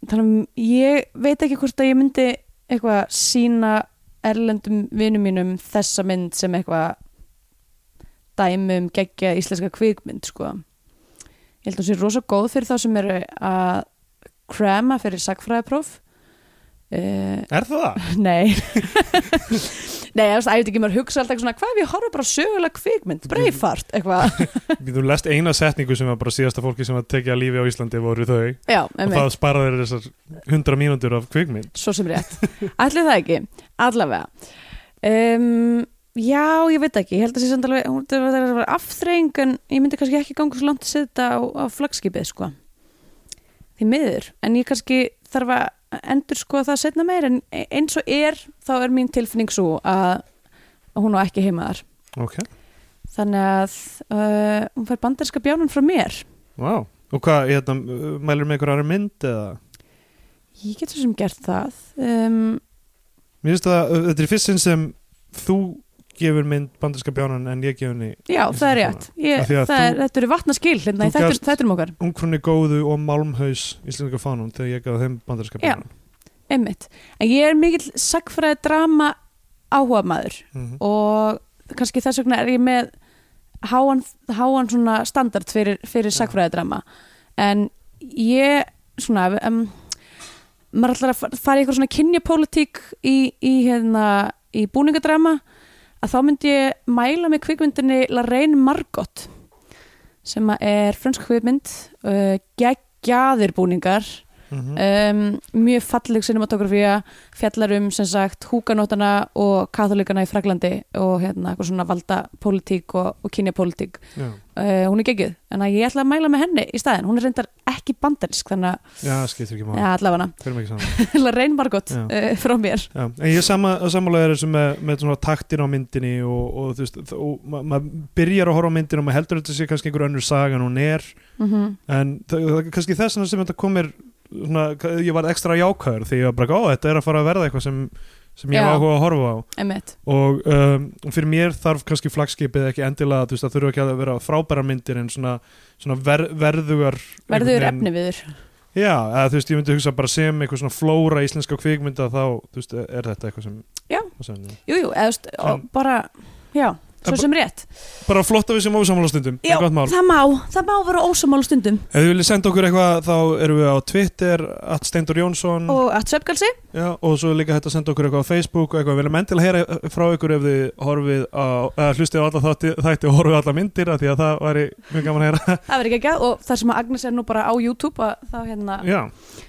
B: þannig að ég veit ekki hvort að ég myndi eitthvað sína erlendum vinum mínum þessa mynd sem eitthvað dæmi um geggja íslenska kvikmynd sko. ég held að hún sé rosa góð fyrir þá sem eru að krema fyrir sagfræðipróf uh,
C: Er það það?
B: Nei Nei, ég veist, ætti ekki maður hugsa alltaf eitthvað svona Hvað ef ég horfa bara á sögulega kvikmynd, breyfart eitthvað,
C: Þú lest eina setningu sem var bara síðasta fólki sem var tekið að lífi á Íslandi voru þau
B: já,
C: og
B: emmi
C: það sparaði þeir þessar 100 mínútur af kvikmynd
B: Svo sem rétt, allir það ekki Allavega um, Já, ég veit ekki, ég held að sé samt alveg hún- Það var- það var afþreying en ég myndi kannski ekki ganga svo langt að setja á, á flagskipið sko. Því miður En ég kannski þarf að endur sko það setna meir En eins og er, þá er mín tilfinning svo að hún á ekki heima þar
C: Ok,
B: þannig að uh, hún fær banderska bjánun frá mér
C: wow Og hvað, hérna, mælur með einhverjar mynd eða?
B: ég get svo sem gert það um,
C: Mér finnst það, þetta er fyrst sinn sem þú gefur mynd banderska bjánan en ég gef henni
B: já,
C: Ég
B: það er
C: sé
B: rétt
C: Af
B: ég,
C: því að
B: það er,
C: þú-
B: þetta eru vatnaskil hérna,
C: þú gafst-
B: þetta er okkar,
C: ungfrunni góðu og málmhaus íslenska fánum þegar ég gaf þeim
B: Já.
C: banderska bjánan
B: einmitt en ég er mikill sagfræði drama áhuga maður
C: Mhm.
B: og kannski þess vegna er ég með háan, háan svona standard fyrir, fyrir
C: Já.
B: sagfræðidrama en ég svona um, maður ætlar að fa- fara í eitthvað svona kynjapólitík í, í, hérna, í búningadrama að þá myndi ég mæla með kvikmyndinni Lorraine Margot sem að er frönsk kvikmynd uh, geggjaðir búningar
C: Mhm.
B: um, mjög falleg cinematografía fjallar um sem sagt húkanótana og katholikana í Fraglandi og hérna eitthvað svona valda pólitík og, og kynja pólitík
C: já,
B: uh, hún er geggjuð, en að ég ætla að mæla með henni í staðin, hún er reyndar ekki bandarinsk þannig að,
C: já, skiptir ekki máli
B: ja, allavega
C: fyrir mig ekki saman
B: hana reyn margótt
C: Já.
B: uh, frá mér
C: Já, en ég sama, samanlega er þessu með, með svona taktin á myndinni og, og þú veist, þ- og ma- maður byrjar að horfa á myndinni og maður heldur að þetta sé kannski einhver önnur saga en hún er,
B: mm
C: en það, það er kannski þess vegna sem þetta komir svona, ég var ekstra jákvæður því ég var bara, ó, þetta er að fara að verða eitthvað sem, sem ég
B: Já.
C: var áhuga að horfa á
B: einmitt,
C: og um, fyrir mér þarf kannski flagskipið ekki endilega, þú veist, það þurfa ekki að vera frábæra myndir en svona, svona ver, verðugar
B: verður
C: einhvern
B: efni
C: veginn-
B: viður
C: Já, eða, þú veist, ég myndi hugsa bara sem eitthvað svona flóra íslenska kvikmynda þá, þú veist, e- er þetta eitthvað sem
B: Já.
C: sem, já.
B: jújú, eða þú veist, og
C: En-
B: bara já, svo
C: En-
B: sem rétt
C: bara flott að við sem ósammála stundum
B: já,
C: það er gott mál.
B: það má, það má vera ósamála stundum
C: ef þið viljið senda okkur eitthvað þá erum við á Twitter at Steindur Jónsson og,
B: og að svefgalsi,
C: já, og svo er líka hægt að senda okkur eitthvað á Facebook og eitthvað við viljum endilega heyra frá ykkur ef þið horfið á, eða hlustið á alla þátti, þætti og horfið á alla myndir af því að það væri mjög gaman að heyra
B: það verður ekki ekki og það sem að Agnes er nú bara á YouTube að, þá hérna,
C: já,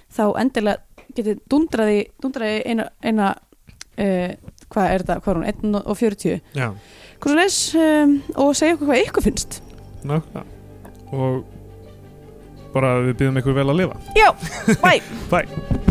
B: þá endilega getið dundraði, dundraði eina, eina uh, hvað er þetta, hvað er hún, 1 og 40
C: já,
B: hvað svo leis um, og segja okkur hvað ykkur finnst
C: nákvæmlega og bara við býðum ykkur vel að lifa
B: já, bye
C: Bye.